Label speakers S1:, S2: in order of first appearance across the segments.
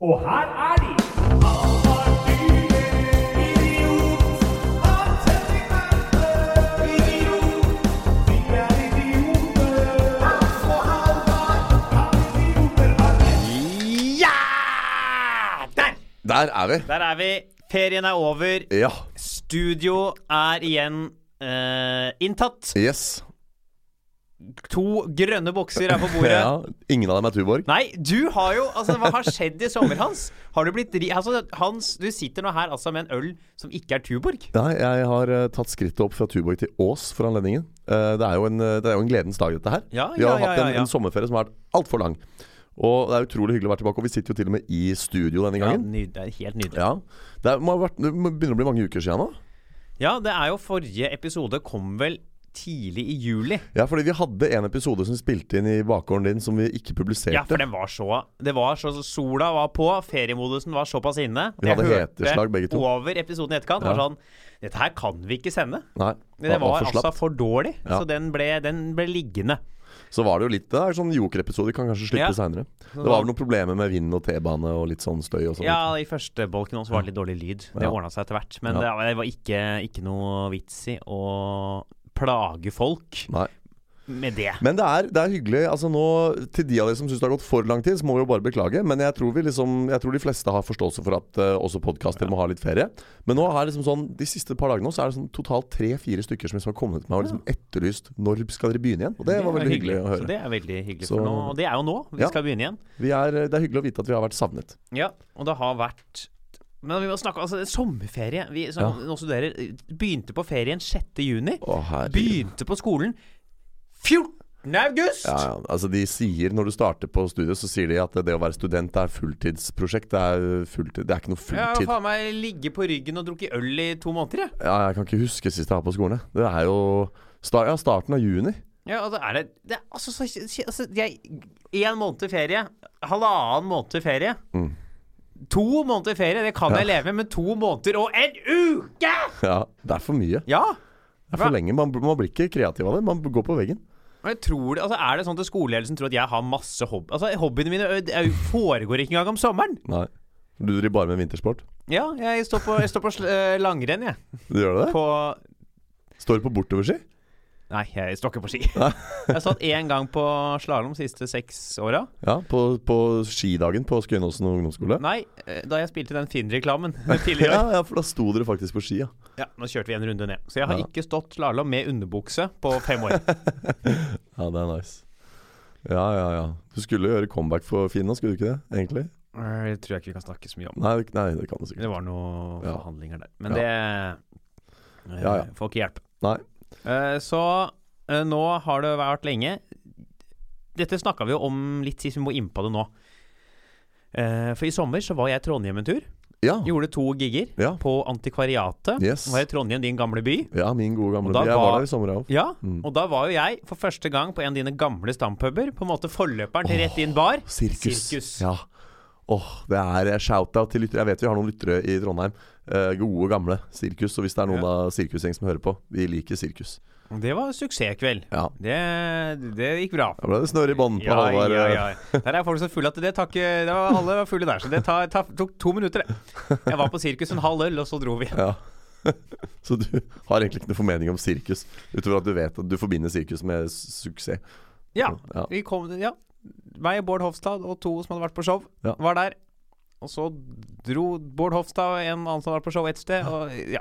S1: Og her er de!
S2: Der er vi.
S3: Der er vi. Ferien er over.
S2: Ja.
S3: Studio er igjen eh, inntatt.
S2: Yes.
S3: To grønne bokser er på bordet.
S2: Ja. Eh, Ingen av dem er Tuborg.
S3: Nei, du har jo Altså, hva har skjedd i sommer, Hans? Har du blitt ri... Altså, Hans, du sitter nå her altså med en øl som ikke er Tuborg.
S2: Nei, jeg har eh, tatt skrittet opp fra Tuborg til Ås for anledningen. Eh, det, er jo en, eh, det er jo en gledens dag, dette her.
S3: Ja,
S2: Vi har
S3: ja, ja,
S2: hatt en,
S3: ja, ja.
S2: en sommerferie som har vært altfor lang. Og det er utrolig hyggelig å være tilbake. Og vi sitter jo til og med i studio denne
S3: Ja,
S2: gangen.
S3: ny, det er helt nydelig.
S2: Ja. Det, er, må ha vært, det må- begynner å bli mange uker siden nå.
S3: Ja, det er jo forrige episode kom vel tidlig i juli.
S2: Ja, fordi vi hadde en episode som vi spilte inn i bakgården din som vi ikke publiserte.
S3: Ja, for den var så Det var så Sola var på, feriemodusen var såpass inne.
S2: Vi hadde heteslag begge to.
S3: over episoden i etterkant.
S2: Ja.
S3: Var sånn Dette her kan vi ikke sende.
S2: Nei,
S3: Det var,
S2: for slapp.
S3: altså for dårlig,
S2: Ja.
S3: så den ble, den ble liggende.
S2: Så var det jo litt Det er sånn jokerepisode, kan kanskje slippe
S3: Ja.
S2: seinere. Det var vel noen problemer med vind og T-bane og litt sånn støy og sånn.
S3: Ja, i første bolken også var det litt dårlig lyd. Det
S2: Ja.
S3: ordnet ordna seg etter hvert. Men
S2: Ja.
S3: det var ikke, ikke noe vits i å plage folk
S2: Nei.
S3: med det.
S2: Men det er, det er hyggelig. Altså nå, Til de av dere som syns det har gått for lang tid, så må vi jo bare beklage. Men jeg tror, vi liksom, jeg tror de fleste har forståelse for at eh, også podkaster må ha litt ferie. Men nå er det liksom sånn, de siste par dagene nå, så er det sånn totalt tre-fire stykker som liksom har kommet til meg og liksom etterlyst når skal dere begynne igjen. Og det var veldig hyggelig å
S3: Så
S2: høre.
S3: det er veldig hyggelig.
S2: Så-
S3: For nå, og det er jo nå vi
S2: Ja.
S3: skal begynne igjen.
S2: Vi er, det er hyggelig å vite at vi har vært savnet.
S3: Ja, og det har vært Men vi må snakke altså, det er sommerferie. Vi som nå studerer, begynte på ferien 6. juni.
S2: Å, herregud.
S3: Begynte på skolen 14. august!
S2: Ja, ja. Altså de sier Når du starter på studiet, så sier de at det å være student er fulltidsprosjekt. Det er, fulltid, det er ikke noe
S3: Jeg har
S2: fulltid.
S3: faen meg ligget på ryggen og drukket øl i to måneder, jeg.
S2: Ja, jeg kan ikke huske sist jeg var på skolen. jeg. Det er jo sta- ja, starten av juni.
S3: Ja, altså, er det, det er, altså, så, altså jeg, En måned ferie, halvannen måned ferie
S2: Mm.
S3: To måneder ferie, det kan jeg leve med, men to måneder og en uke!
S2: Ja, Det er for mye.
S3: Ja!
S2: Det er for lenge. Man, man blir ikke kreativ av det. Man går på veggen.
S3: Men jeg tror det, altså, er det sånn at skoleledelsen tror at jeg har masse hobby Altså, Hobbyene mine ø, det er jo- foregår ikke engang om sommeren.
S2: Nei. Du driver bare med vintersport?
S3: Ja, jeg står på, jeg står på sl- ø, langrenn, jeg.
S2: Du gjør det?
S3: På
S2: Står du på bortoverski?
S3: Nei, jeg står ikke på ski. Jeg satt én gang på slalåm siste seks åra.
S2: Ja, på, på skidagen på Skøyenåsen ungdomsskole?
S3: Nei, ø, da jeg spilte den Finn-reklamen tidligere.
S2: Ja, ja, for da sto dere faktisk på ski, ja.
S3: Ja, nå kjørte vi en runde ned. Så jeg har
S2: Ja.
S3: ikke stått slalåm med underbukse på fem år.
S2: Ja, det er nice. Ja, ja, ja. Du skulle jo gjøre comeback for Finn nå, skulle du ikke det? Egentlig?
S3: Det tror jeg ikke vi kan snakke så mye om.
S2: Nei, det- nei det kan du sikkert.
S3: Det var noen
S2: Ja.
S3: forhandlinger der. Men
S2: Ja.
S3: det eh,
S2: Ja, ja.
S3: får ikke hjelpe.
S2: Nei.
S3: Eh, Så eh, nå har det vært lenge Dette snakka vi jo om litt sist, vi må inn på det nå. Eh, For i sommer så var jeg i Trondheim en tur.
S2: Ja.
S3: Gjorde to gigger
S2: Ja.
S3: på Antikvariatet.
S2: Yes.
S3: Var i Trondheim, din gamle by.
S2: ja, min gode gamle
S3: Og da
S2: by. Jeg
S3: var-
S2: var der i sommer, jeg òg.
S3: Ja, og da var jo jeg for første gang på en av dine gamle stampuber. På en måte forløperen til Rett Inn Bar.
S2: Sirkus.
S3: Sirkus.
S2: Ja. Åh, det er shout-out til lyttere. Jeg vet vi har noen lyttere i Trondheim. Eh, gode, gamle sirkus. Og hvis det er noen av sirkusgjeng som hører på, vi liker sirkus.
S3: Det var suksesskveld.
S2: Ja.
S3: Det, det gikk bra.
S2: Da ble det snørr i bånd på
S3: Ja,
S2: Halvard. eh,
S3: ja, ja. Der er folk så fulle at det tar ikke det var, Alle var fulle der, så det tar, tar, tok to minutter, det. Jeg var på sirkus en halv øl, og så dro vi.
S2: Ja. Så du har egentlig ikke noe formening om sirkus, utover at du vet at du forbinder sirkus med su- suksess.
S3: Ja.
S2: Ja.
S3: Vi kom, ja. Meg, Bård Hofstad og to som hadde vært på show,
S2: Ja.
S3: var der. Og så dro Bård Hofstad og en annen som hadde vært på show, et sted. Og, ja.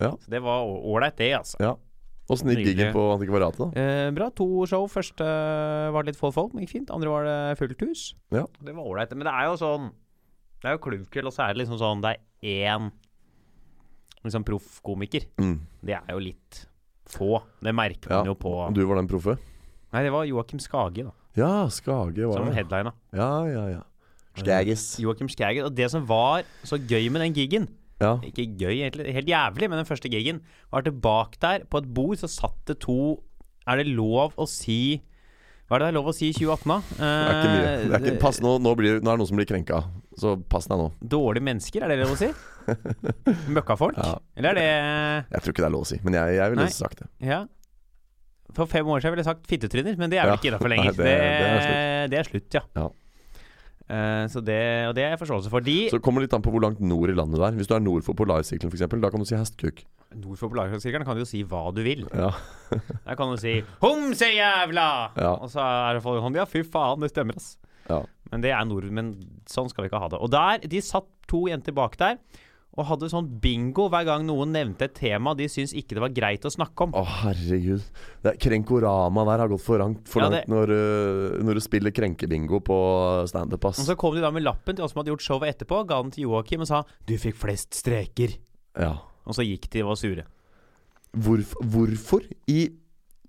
S2: Ja.
S3: Så det var å- ålreit, det, altså.
S2: Ja. Åssen
S3: Nydelig.
S2: gikk giggen på Antikvariatet, da?
S3: Eh, bra. To show. Første var det litt få folk, men gikk fint. Andre var det fullt hus.
S2: Ja.
S3: Det var ålreit. Men det er jo sånn Det er jo klubbkveld, og så er det liksom sånn Det er én liksom proffkomiker.
S2: Mm.
S3: Det er jo litt få. Det merker
S2: Ja.
S3: man jo på
S2: Du var den proffe?
S3: Nei, det var Joakim Skage, da,
S2: Ja, Skage var
S3: som
S2: det.
S3: headlina.
S2: Ja, ja, ja. Skages.
S3: Joakim Skage. Og det som var så gøy med den gigen
S2: Ja.
S3: Ikke gøy, egentlig, helt jævlig, men den første gigen var at det bak der, på et bord, så satt det to Er det lov å si Hva er det det er lov å si i 2018, da?
S2: Det er ikke mye.
S3: Eh,
S2: Det er ikke, pass, nå, nå, blir, nå er det noen som blir krenka, så pass deg nå.
S3: Eh, Dårlige mennesker, er det lov å si? Møkkafolk?
S2: Ja.
S3: Eller er
S2: Jeg tror ikke det er lov å si, men jeg, jeg ville
S3: Nei.
S2: sagt det.
S3: det Ja. For fem år siden ville jeg sagt fittetryner, men det er vel
S2: Ja.
S3: ikke innafor
S2: Nei,
S3: lenger.
S2: det-
S3: det, det, er slutt, ja.
S2: Ja.
S3: Eh, så det, og det er jeg forståelse for. De
S2: Så det kommer litt an på hvor langt nord i landet det er. Hvis du er nord for polarsirkelen f.eks., da kan du si hestkuk.
S3: nord for polarkranskirkeren kan du jo si hva du vil.
S2: Ja.
S3: Der kan du si 'homsejævla'!
S2: Ja.
S3: Og så er det folk sånn Ja, fy faen, det stemmer, ass.
S2: Ja.
S3: Men det er nordmenn. Sånn skal vi ikke ha det. Og der, de satt to jenter bak der og hadde sånn bingo hver gang noen nevnte et tema de syntes ikke det var greit å snakke om.
S2: Å, herregud. Det er Krenkorama der har gått for langt, for
S3: Ja,
S2: langt
S3: det-
S2: når, øh, når du spiller krenkebingo på standup, ass.
S3: Og så kom de da med lappen til oss som hadde gjort showet etterpå, ga den til Joakim og sa 'du fikk flest streker'.
S2: Ja.
S3: Og så gikk de og var sure.
S2: Hvorf hvorfor i,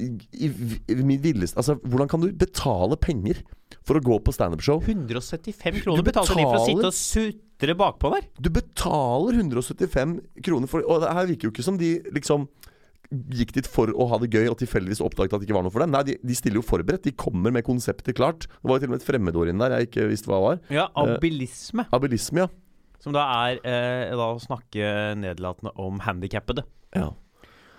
S2: i, i, i min villeste Altså, hvordan kan du betale penger for å gå på standup-show?
S3: 175 kroner
S2: Du
S3: betalte de for å sitte
S2: betaler-
S3: og sutre bakpå der.
S2: Du betaler 175 kroner for Og det her virker jo ikke som de liksom gikk dit for å ha det gøy og tilfeldigvis oppdaget at det ikke var noe for dem. Nei, de, de stiller jo forberedt. De kommer med konseptet klart. Det var jo til og med et fremmedord inne der jeg ikke visste hva var.
S3: Ja, Abilisme.
S2: Abilisme, ja.
S3: Som da er eh, da å snakke nedlatende om handikappede.
S2: ja.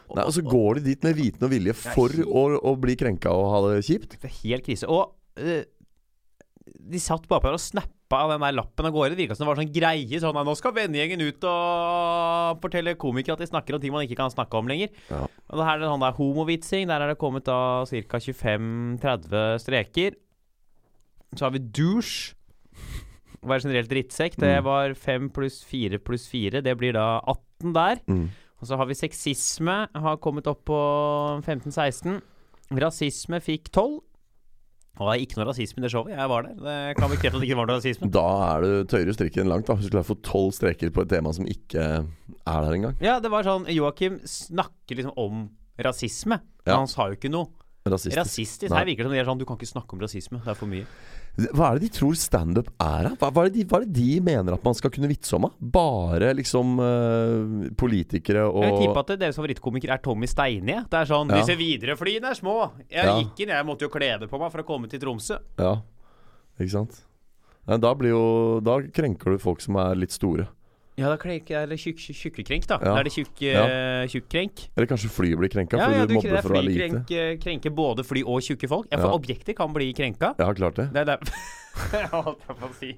S2: Nei, og så går de dit med viten og vilje for
S3: helt-
S2: å, å bli krenka og ha det kjipt.
S3: Det er helt krise. Og eh, de satt bakpå der og snappa av den der lappen av gårde. Det virka som det var sånn greie sånn «Nei, Nå skal vennegjengen ut og fortelle komikere at de snakker om ting man ikke kan snakke om lenger.
S2: Ja.
S3: Og det her er det sånn der homovitsing. Der er det kommet da ca. 25-30 streker. Så har vi douche. Å være generelt drittsekk. Det
S2: Mm.
S3: var 5 pluss 4 pluss 4. Det blir da 18 der.
S2: Mm.
S3: Og så har vi sexisme, har kommet opp på 15-16. Rasisme fikk 12. Og det er ikke noe rasisme i det showet. Jeg var der. Det kan bekrefte at det ikke var noe rasisme.
S2: Da er du tøyere strikken langt, da. Hvis du klarer å få tolv streker på et tema som ikke er der engang.
S3: Ja, det var sånn Joakim snakker liksom om rasisme. Men
S2: Ja.
S3: han sa jo ikke noe
S2: Rasistisk.
S3: rasistisk.
S2: Nei.
S3: Her virker det som de er sånn Du kan ikke snakke om rasisme. Det er for mye.
S2: Hva er det de tror standup er, da? Hva, hva, er det de, hva er det de mener at man skal kunne vitse om? da? Bare liksom eh, politikere
S3: Jeg vil tippe
S2: og
S3: at deres favorittkomiker er Tommy Steinie. Det er sånn
S2: Ja.
S3: Disse Widerøe-flyene er små. Jeg
S2: Ja.
S3: gikk inn, jeg måtte jo kle det på meg for å komme til Tromsø.
S2: Ja, ikke sant? Nei, da blir jo Da krenker du folk som er litt store.
S3: Ja, da klenk, eller tjukk- tjukkekrenk, da.
S2: Ja.
S3: Da er det tjukk,
S2: Ja.
S3: eh, tjukkrenk.
S2: Eller kanskje flyet blir krenka
S3: Ja,
S2: fordi
S3: ja,
S2: du
S3: du
S2: mobber
S3: det er
S2: for å være
S3: fly
S2: lite.
S3: krenk, krenker både fly og tjukke folk. Ja, for
S2: Ja.
S3: objekter kan bli krenka.
S2: Jeg har klart det.
S3: Det er der Jeg holdt på å si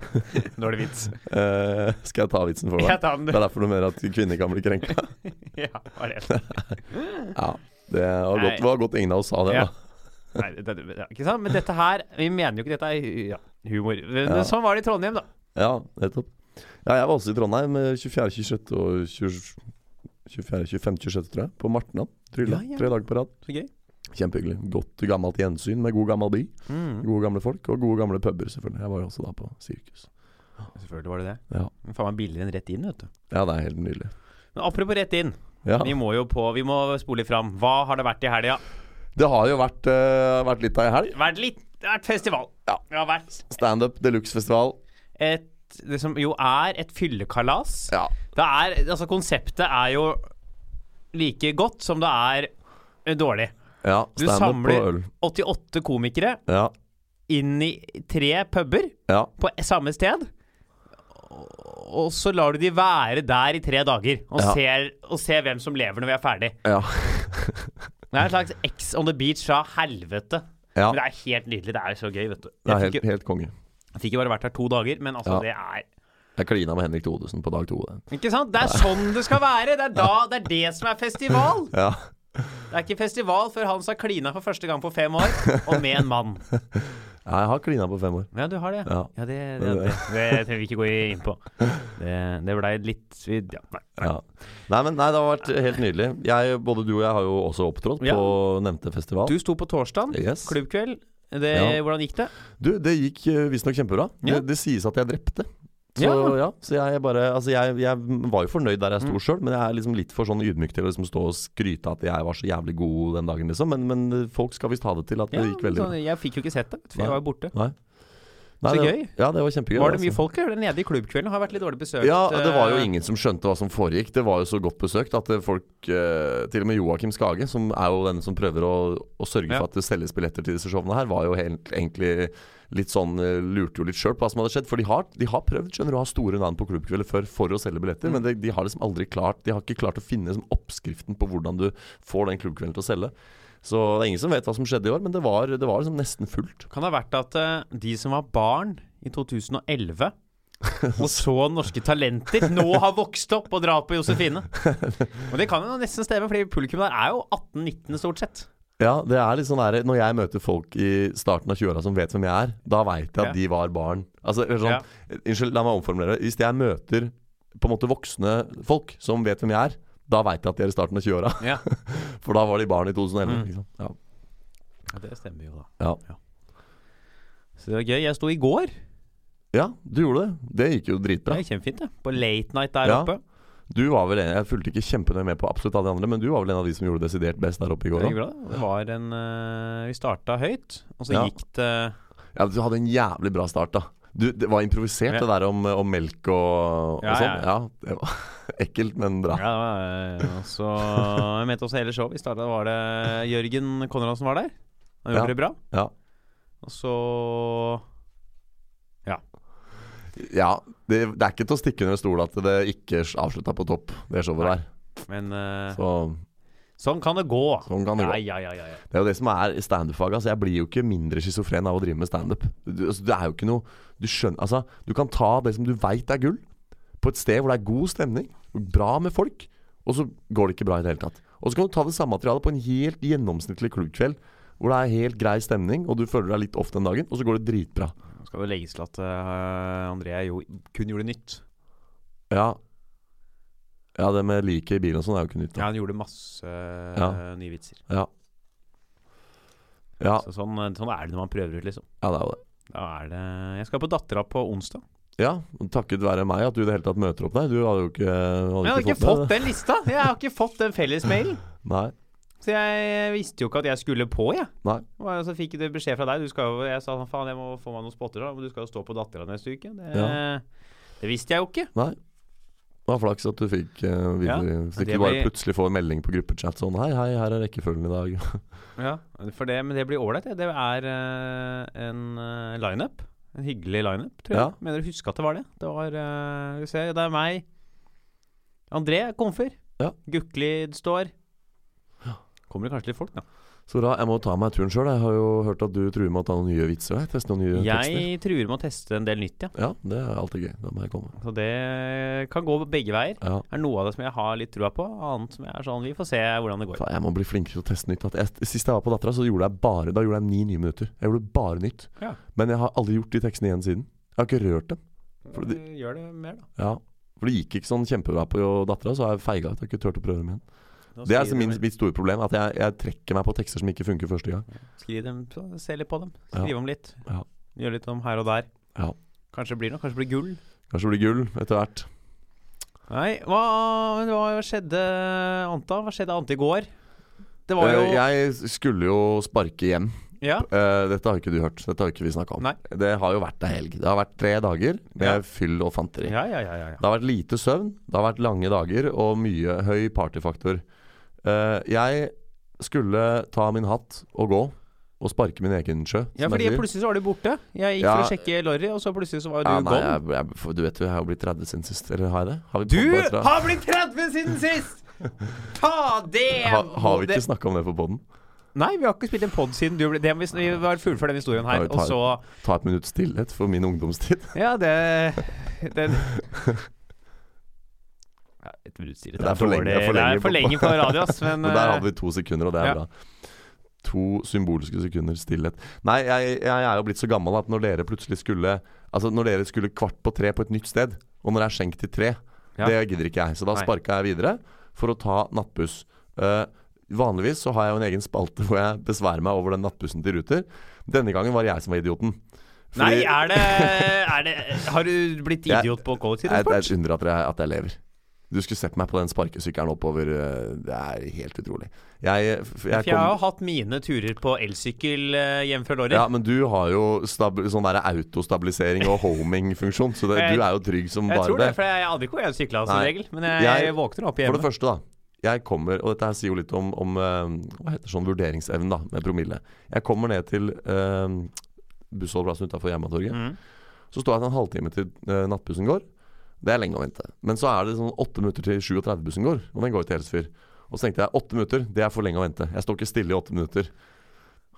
S3: dårlig vits.
S2: Eh, skal jeg ta vitsen for
S3: Jeg
S2: deg?
S3: tar den,
S2: Det
S3: du.
S2: er derfor du mener at kvinner kan bli krenka.
S3: Ja, var det.
S2: Ja, det var
S3: Nei.
S2: godt, var godt ingen av oss sa det.
S3: Ja.
S2: da
S3: Nei, det, det, det, ikke sant? Men dette her Vi mener jo ikke dette er hu- ja, humor. Men sånn var det i Trondheim, da.
S2: Ja, nettopp. Ja, jeg var også i Trondheim eh, 24., 26. og 20, 24., 25., 26., tror jeg. På Martnan. Trylla.
S3: Ja, ja.
S2: Tre dager på rad.
S3: Så gøy.
S2: Kjempehyggelig. Godt gammelt gjensyn med god gammel by.
S3: Mm.
S2: Gode gamle folk, og gode gamle puber, selvfølgelig. Jeg var jo også da på sirkus.
S3: Selvfølgelig var det det.
S2: Ja.
S3: Men Faen meg billigere enn rett inn, vet du.
S2: Ja, det er helt nydelig.
S3: Men apropos rett inn.
S2: Ja.
S3: Vi må jo på Vi må spole litt fram. Hva har det vært i helga?
S2: Det har jo vært, eh, vært litt av ei helg.
S3: Vært litt Det har vært festival.
S2: Ja.
S3: Det har vært
S2: Standup deluxe-festival.
S3: et Det som jo er et fyllekalas.
S2: Ja.
S3: Det er, altså Konseptet er jo like godt som det er eh, dårlig.
S2: ja
S3: Du
S2: Standup på
S3: samler
S2: øl.
S3: 88 komikere
S2: Ja.
S3: inn i tre puber
S2: ja.
S3: på e, samme sted. Og så lar du de være der i tre dager og,
S2: Ja.
S3: ser, og ser hvem som lever når vi er ferdig.
S2: Ja.
S3: Det er en slags X on the beach fra helvete.
S2: ja.
S3: Men det er helt nydelig. Det er så gøy, vet du.
S2: Det
S3: Jeg
S2: er
S3: fikk,
S2: helt,
S3: jo,
S2: helt konge.
S3: jeg fikk jo bare vært her to dager, men altså,
S2: Ja.
S3: det er
S2: Jeg klina med Henrik Thodesen på dag to. det.
S3: Ikke sant? Det er sånn det skal være! Det er da, det er det som er festival!
S2: Ja.
S3: Det er ikke festival før Hans har klina for første gang på fem år, og med en mann.
S2: Jeg har klina på fem år.
S3: Ja, du har det.
S2: Ja.
S3: det, det, det, det trenger vi ikke gå inn på. Det, det blei litt vi- ja, nei.
S2: Ja. Nei, men nei, det har vært helt nydelig. Jeg, både du og jeg har jo også opptrådt
S3: Ja.
S2: på nevnte festival.
S3: Du sto på torsdag,
S2: Yes.
S3: klubbkveld. Det,
S2: Ja.
S3: Hvordan gikk det?
S2: Du, det gikk eh, visstnok kjempebra.
S3: Ja.
S2: Det, det sies at jeg drepte. Så, ja.
S3: Ja. Mm.
S2: så jeg bare Altså, jeg, jeg var jo fornøyd der jeg sto sjøl, men jeg er liksom litt for sånn ydmyk til å liksom stå og skryte at jeg var så jævlig god den dagen, liksom. Men, men eh, folk skal visst ha det til at det gikk veldig
S3: sånn,
S2: bra.
S3: jeg fikk jo ikke sett det, for jeg
S2: Nei.
S3: var jo borte.
S2: Nei. Nei,
S3: Så
S2: det,
S3: gøy.
S2: Ja, det var kjempegøy.
S3: Var det mye
S2: altså.
S3: folk her nede i klubbkvelden? Har vært litt dårlig besøkt.
S2: Ja, det var jo
S3: eh,
S2: ingen som skjønte hva som foregikk. Det var jo så godt besøkt at eh, folk eh, Til og med Joakim Skage, som er jo den som prøver å, å sørge
S3: Ja.
S2: for at det selges billetter til disse showene her, var jo helt, egentlig litt sånn eh, Lurte jo litt sjøl på hva som hadde skjedd. For de har, de har prøvd skjønner du, å ha store navn på klubbkvelder før for å selge
S3: Mm.
S2: billetter, men de, de har liksom aldri klart De har ikke klart å finne liksom, oppskriften på hvordan du får den klubbkvelden til å selge. Så det er ingen som vet hva som skjedde i år, men det var, det var liksom nesten fullt.
S3: Kan det ha vært at eh, de som var barn i 2011 og så norske talenter, nå har vokst opp og drar på Josefine? Og det kan jo nesten stemme, fordi publikum der er jo 18-19 stort sett.
S2: Ja, det er litt sånn der, Når jeg møter folk i starten av 20-åra som vet hvem jeg er, da veit jeg at
S3: Ja.
S2: de var barn. Altså, eller sånn,
S3: Ja.
S2: Unnskyld, la meg omformulere. Hvis jeg møter på en måte voksne folk som vet hvem jeg er, da veit jeg at de er i starten av 20-åra.
S3: Ja, Mm.
S2: For da var de barn i 2011. Liksom. Ja.
S3: det stemmer jo, da.
S2: Ja.
S3: Så det var gøy. Jeg sto i går.
S2: ja, du gjorde det. Det gikk jo
S3: Det
S2: dritbra.
S3: er kjempefint, det. På late night der
S2: Ja,
S3: oppe.
S2: Du var vel en, Jeg fulgte ikke kjempenøye med på absolutt alle de andre, men du var vel en av de som gjorde det desidert best der oppe i
S3: Det
S2: går
S3: gikk
S2: òg.
S3: bra. det. Det var en eh, Vi starta høyt, og så
S2: Ja.
S3: gikk det
S2: Ja, du hadde en jævlig bra start, da. Du, det var improvisert,
S3: Ja.
S2: det der om, om melk og, og
S3: Ja,
S2: sånn.
S3: ja,
S2: Ja, det var ekkelt, men bra.
S3: Ja, det var, eh, og så Jeg mente også hele showet. I starten var det Jørgen Konradsen var der. Han
S2: Ja.
S3: gjorde det bra.
S2: Ja.
S3: Og så
S2: Ja, det, det er ikke til å stikke under stol at det ikke avslutta på topp, det showet
S3: Nei.
S2: der.
S3: Men eh,
S2: Så
S3: sånn kan det gå.
S2: sånn kan det
S3: Ja,
S2: gå.
S3: ja, ja, ja, ja.
S2: Det er jo det som er standup-faget. Altså, jeg blir jo ikke mindre schizofren av å drive med standup. Du, altså, det er jo ikke noe Du skjønner Altså, du kan ta det som du veit er gull, på et sted hvor det er god stemning, bra med folk, og så går det ikke bra i det hele tatt. Og så kan du ta det samme materialet på en helt gjennomsnittlig klubbkveld, hvor det er helt grei stemning, og du føler deg litt off den dagen, og så går det dritbra.
S3: Nå skal det legges til at eh, André jo kun gjorde nytt.
S2: Ja, ja det med liket i bilen og sånn er jo ikke nytt. da.
S3: Ja, han gjorde masse eh,
S2: Ja.
S3: nye vitser.
S2: Ja. Ja,
S3: Så sånn, sånn er det når man prøver ut, liksom.
S2: ja det er jo det.
S3: Da er det Jeg skal på Dattera på onsdag.
S2: Ja, og Takket være meg at du i det hele tatt møter opp der. Du hadde jo ikke, hadde
S3: Men jeg har ikke
S2: med
S3: fått den lista! Jeg har ikke fått den fellesmailen.
S2: Nei.
S3: Så jeg visste jo ikke at jeg skulle på, jeg.
S2: Nei.
S3: Og jeg- så fikk jeg beskjed fra deg. Du skal jo, jeg sa sånn, faen, jeg må få meg noen spotter, da. men Du skal jo stå på Dattera neste uke. Det,
S2: Ja.
S3: det visste jeg jo ikke.
S2: Nei. Det var flaks at du fikk uh, videre Så
S3: det
S2: ikke du bare
S3: blir-
S2: plutselig får en melding på gruppechat sånn Hei, hei, her er rekkefølgen i dag.
S3: Ja, for det, Men det blir ålreit. det. Det er eh, en eh, lineup. En hyggelig lineup, tror jeg.
S2: Ja.
S3: Mener du husker at det var det? Det var eh, Skal vi se, det er meg. André Komfer.
S2: Ja.
S3: Guklid står. Kommer det kanskje litt folk, da?
S2: Så bra. Jeg må ta meg turen sjøl. Jeg har jo hørt at du truer med å ta noen nye vitser. Jeg teste noen nye tekster.
S3: Jeg truer med å teste en del nytt, ja.
S2: Ja, det er alltid gøy. Da må jeg komme.
S3: Så det kan gå begge veier.
S2: Ja.
S3: er noe av det som jeg har litt trua på. Annet som jeg er sånn Vi får se hvordan det går.
S2: Faen, Jeg må bli flinkere til å teste nytt. At Jeg, sist jeg var på Dattera, så gjorde jeg bare Da gjorde jeg ni nye minutter. Jeg gjorde bare nytt.
S3: Ja.
S2: Men jeg har aldri gjort de tekstene igjen siden. Jeg har ikke rørt dem. for det-
S3: Gjør det mer, da.
S2: Ja. For det gikk ikke sånn kjempebra på Dattera, så har jeg feiga ut. Jeg har ikke turt å prøve dem igjen.
S3: Nå
S2: Det
S3: skriver
S2: er altså min,
S3: du-
S2: mitt store problem, at jeg, jeg trekker meg på tekster som ikke funker første gang.
S3: Skriv dem, så se litt på dem.
S2: Ja.
S3: Skriv om litt.
S2: Ja.
S3: Gjør litt om her og der.
S2: Ja.
S3: Kanskje det blir noe. Kanskje det blir gull.
S2: Kanskje det blir gull etter hvert.
S3: Nei, hva, hva skjedde, Anta? Hva skjedde Ante i går? Det var jo
S2: Eh, Jeg skulle jo sparke hjem.
S3: Ja.
S2: Eh, Dette har jo ikke du hørt. Dette har jo ikke vi snakka om.
S3: Nei.
S2: Det har jo vært ei helg. Det har vært tre dager med
S3: Ja.
S2: fyll og fanteri.
S3: Ja, ja, ja, ja, ja.
S2: Det har vært lite søvn, det har vært lange dager og mye høy partyfaktor. Eh, jeg skulle ta min hatt og gå, og sparke min egen sjø.
S3: Ja,
S2: som
S3: fordi
S2: jeg sier.
S3: plutselig så var du borte. Jeg gikk for
S2: Ja.
S3: å sjekke Lorry, og så plutselig så var du
S2: ja, nei,
S3: gone.
S2: jeg, jeg, for du vet jo, jeg har jo blitt 30 siden sist. Eller har jeg det? Har vi poddet
S3: Du
S2: etter-
S3: har blitt 30 siden sist! Ta det!
S2: ha, Har vi
S3: det-
S2: ikke snakka om det på poden?
S3: Nei, vi har ikke spilt en pod siden du ble det, Vi vi var fullført den historien her,
S2: Ja, vi
S3: og
S2: tar-
S3: så
S2: Ta et minutts stillhet for min ungdomstid.
S3: Ja, det Den ja, Et minutt stille.
S2: Det er for lenge- det er for
S3: dårlig.
S2: lenge
S3: det er for
S2: på-
S3: lenge på radio, ass. Men,
S2: Men der hadde
S3: eh,
S2: vi to sekunder, og det er
S3: ja.
S2: bra. To symbolske sekunder stillhet. Nei, jeg, jeg er jo blitt så gammel at når dere plutselig skulle Altså når dere skulle kvart på tre på et nytt sted, og når det er skjenkt til tre,
S3: Ja.
S2: det gidder ikke jeg. Så da
S3: Nei.
S2: sparka jeg videre for å ta nattbuss. Eh, vanligvis så har jeg jo en egen spalte hvor jeg besværer meg over den nattbussen til Ruter. Denne gangen var det jeg som var idioten.
S3: Nei,
S2: Fordi-
S3: er det, er det Har du blitt
S2: Jeg-
S3: idiot på
S2: Jeg, jeg
S3: kollektivtransport?
S2: undrer at jeg, at jeg lever. Du skulle sett meg på den sparkesykkelen oppover. eh, Det er helt utrolig. Jeg, eh, f- jeg
S3: For jeg har jo hatt mine turer på elsykkel eh, hjem fra Lorry.
S2: Ja, men du har jo stab sånn der autostabilisering og homing-funksjon, så det, du er jo trygg som
S3: jeg
S2: bare
S3: tror det, for jeg aner ikke hvor jeg sykla som
S2: Nei.
S3: regel. Men jeg,
S2: Jeg-
S3: våkner opp
S2: For det
S3: hjemme.
S2: første, da. Jeg kommer, og dette her sier jo litt om, om eh, hva heter sånn vurderingsevne da, med promille. Jeg kommer ned til uh, bussholdeplassen utafor Hjemmetorget.
S3: Mm.
S2: Så står jeg en halvtime til eh, nattbussen går. Det er lenge å vente. Men så er det sånn åtte minutter til 37-bussen går, og den går til Helsfyr. Og så tenkte jeg åtte minutter, det er for lenge å vente. Jeg står ikke stille i åtte minutter.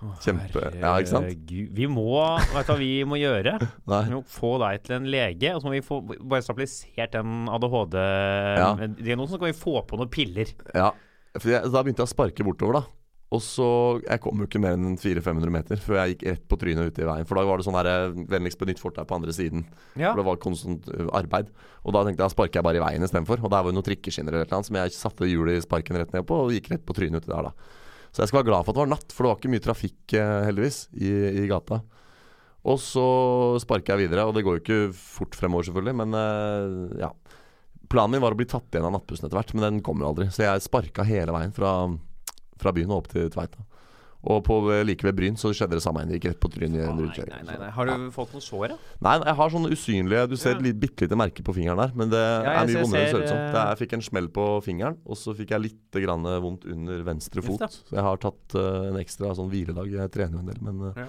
S2: Kjempe- ja, ikke sant?
S3: Herregud. Vi må Vet du hva vi må gjøre?
S2: Nei.
S3: Vi må få deg til en lege, og så må vi få bare stabilisert den
S2: Ja.
S3: ADHD-diagnosen. Så kan vi få på noen piller.
S2: Ja, for jeg, da begynte jeg å sparke bortover da Og så, jeg kom jo ikke mer enn 400-500 meter Før jeg gikk rett på trynet ute i veien For da var det sånn her, vennligst benytt fort deg på andre siden
S3: Ja.
S2: For det var konstant ø, arbeid Og da tenkte jeg, da sparker jeg bare i veien i stedet for Og der var jo noen trikkeskinner eller noe Som jeg satte hjulet i sparken rett ned på Og gikk rett på trynet ute der da Så jeg skal være glad for at det var natt For det var ikke mye trafikk eh, heldigvis i, i gata og så sparker jeg videre, og det går jo ikke fort fremover selvfølgelig, men eh, ja. Planen min var å bli tatt igjen av nattbussen etter hvert, men den kom jo aldri. Så jeg sparka hele veien fra, fra byen og opp til Tveita. Og på, like ved Bryn så skjedde det samme. Jeg gikk rett på trynet i en
S3: Nei,
S2: rundkjøring.
S3: nei, nei, nei. Har du fått noen sår, da?
S2: Nei, jeg har sånne usynlige Du ser
S3: Ja.
S2: et litt, bitte lite merke på fingeren der, men det
S3: Ja, jeg
S2: er mye
S3: ser- eh,
S2: vondere enn det ser ut som.
S3: ser,
S2: Det er, jeg fikk en smell på fingeren, og så fikk jeg litt grann vondt under venstre
S3: Just
S2: fot.
S3: det.
S2: Så jeg har tatt eh, en ekstra sånn hviledag. Jeg trener jo en del, men
S3: Ja.
S2: eh,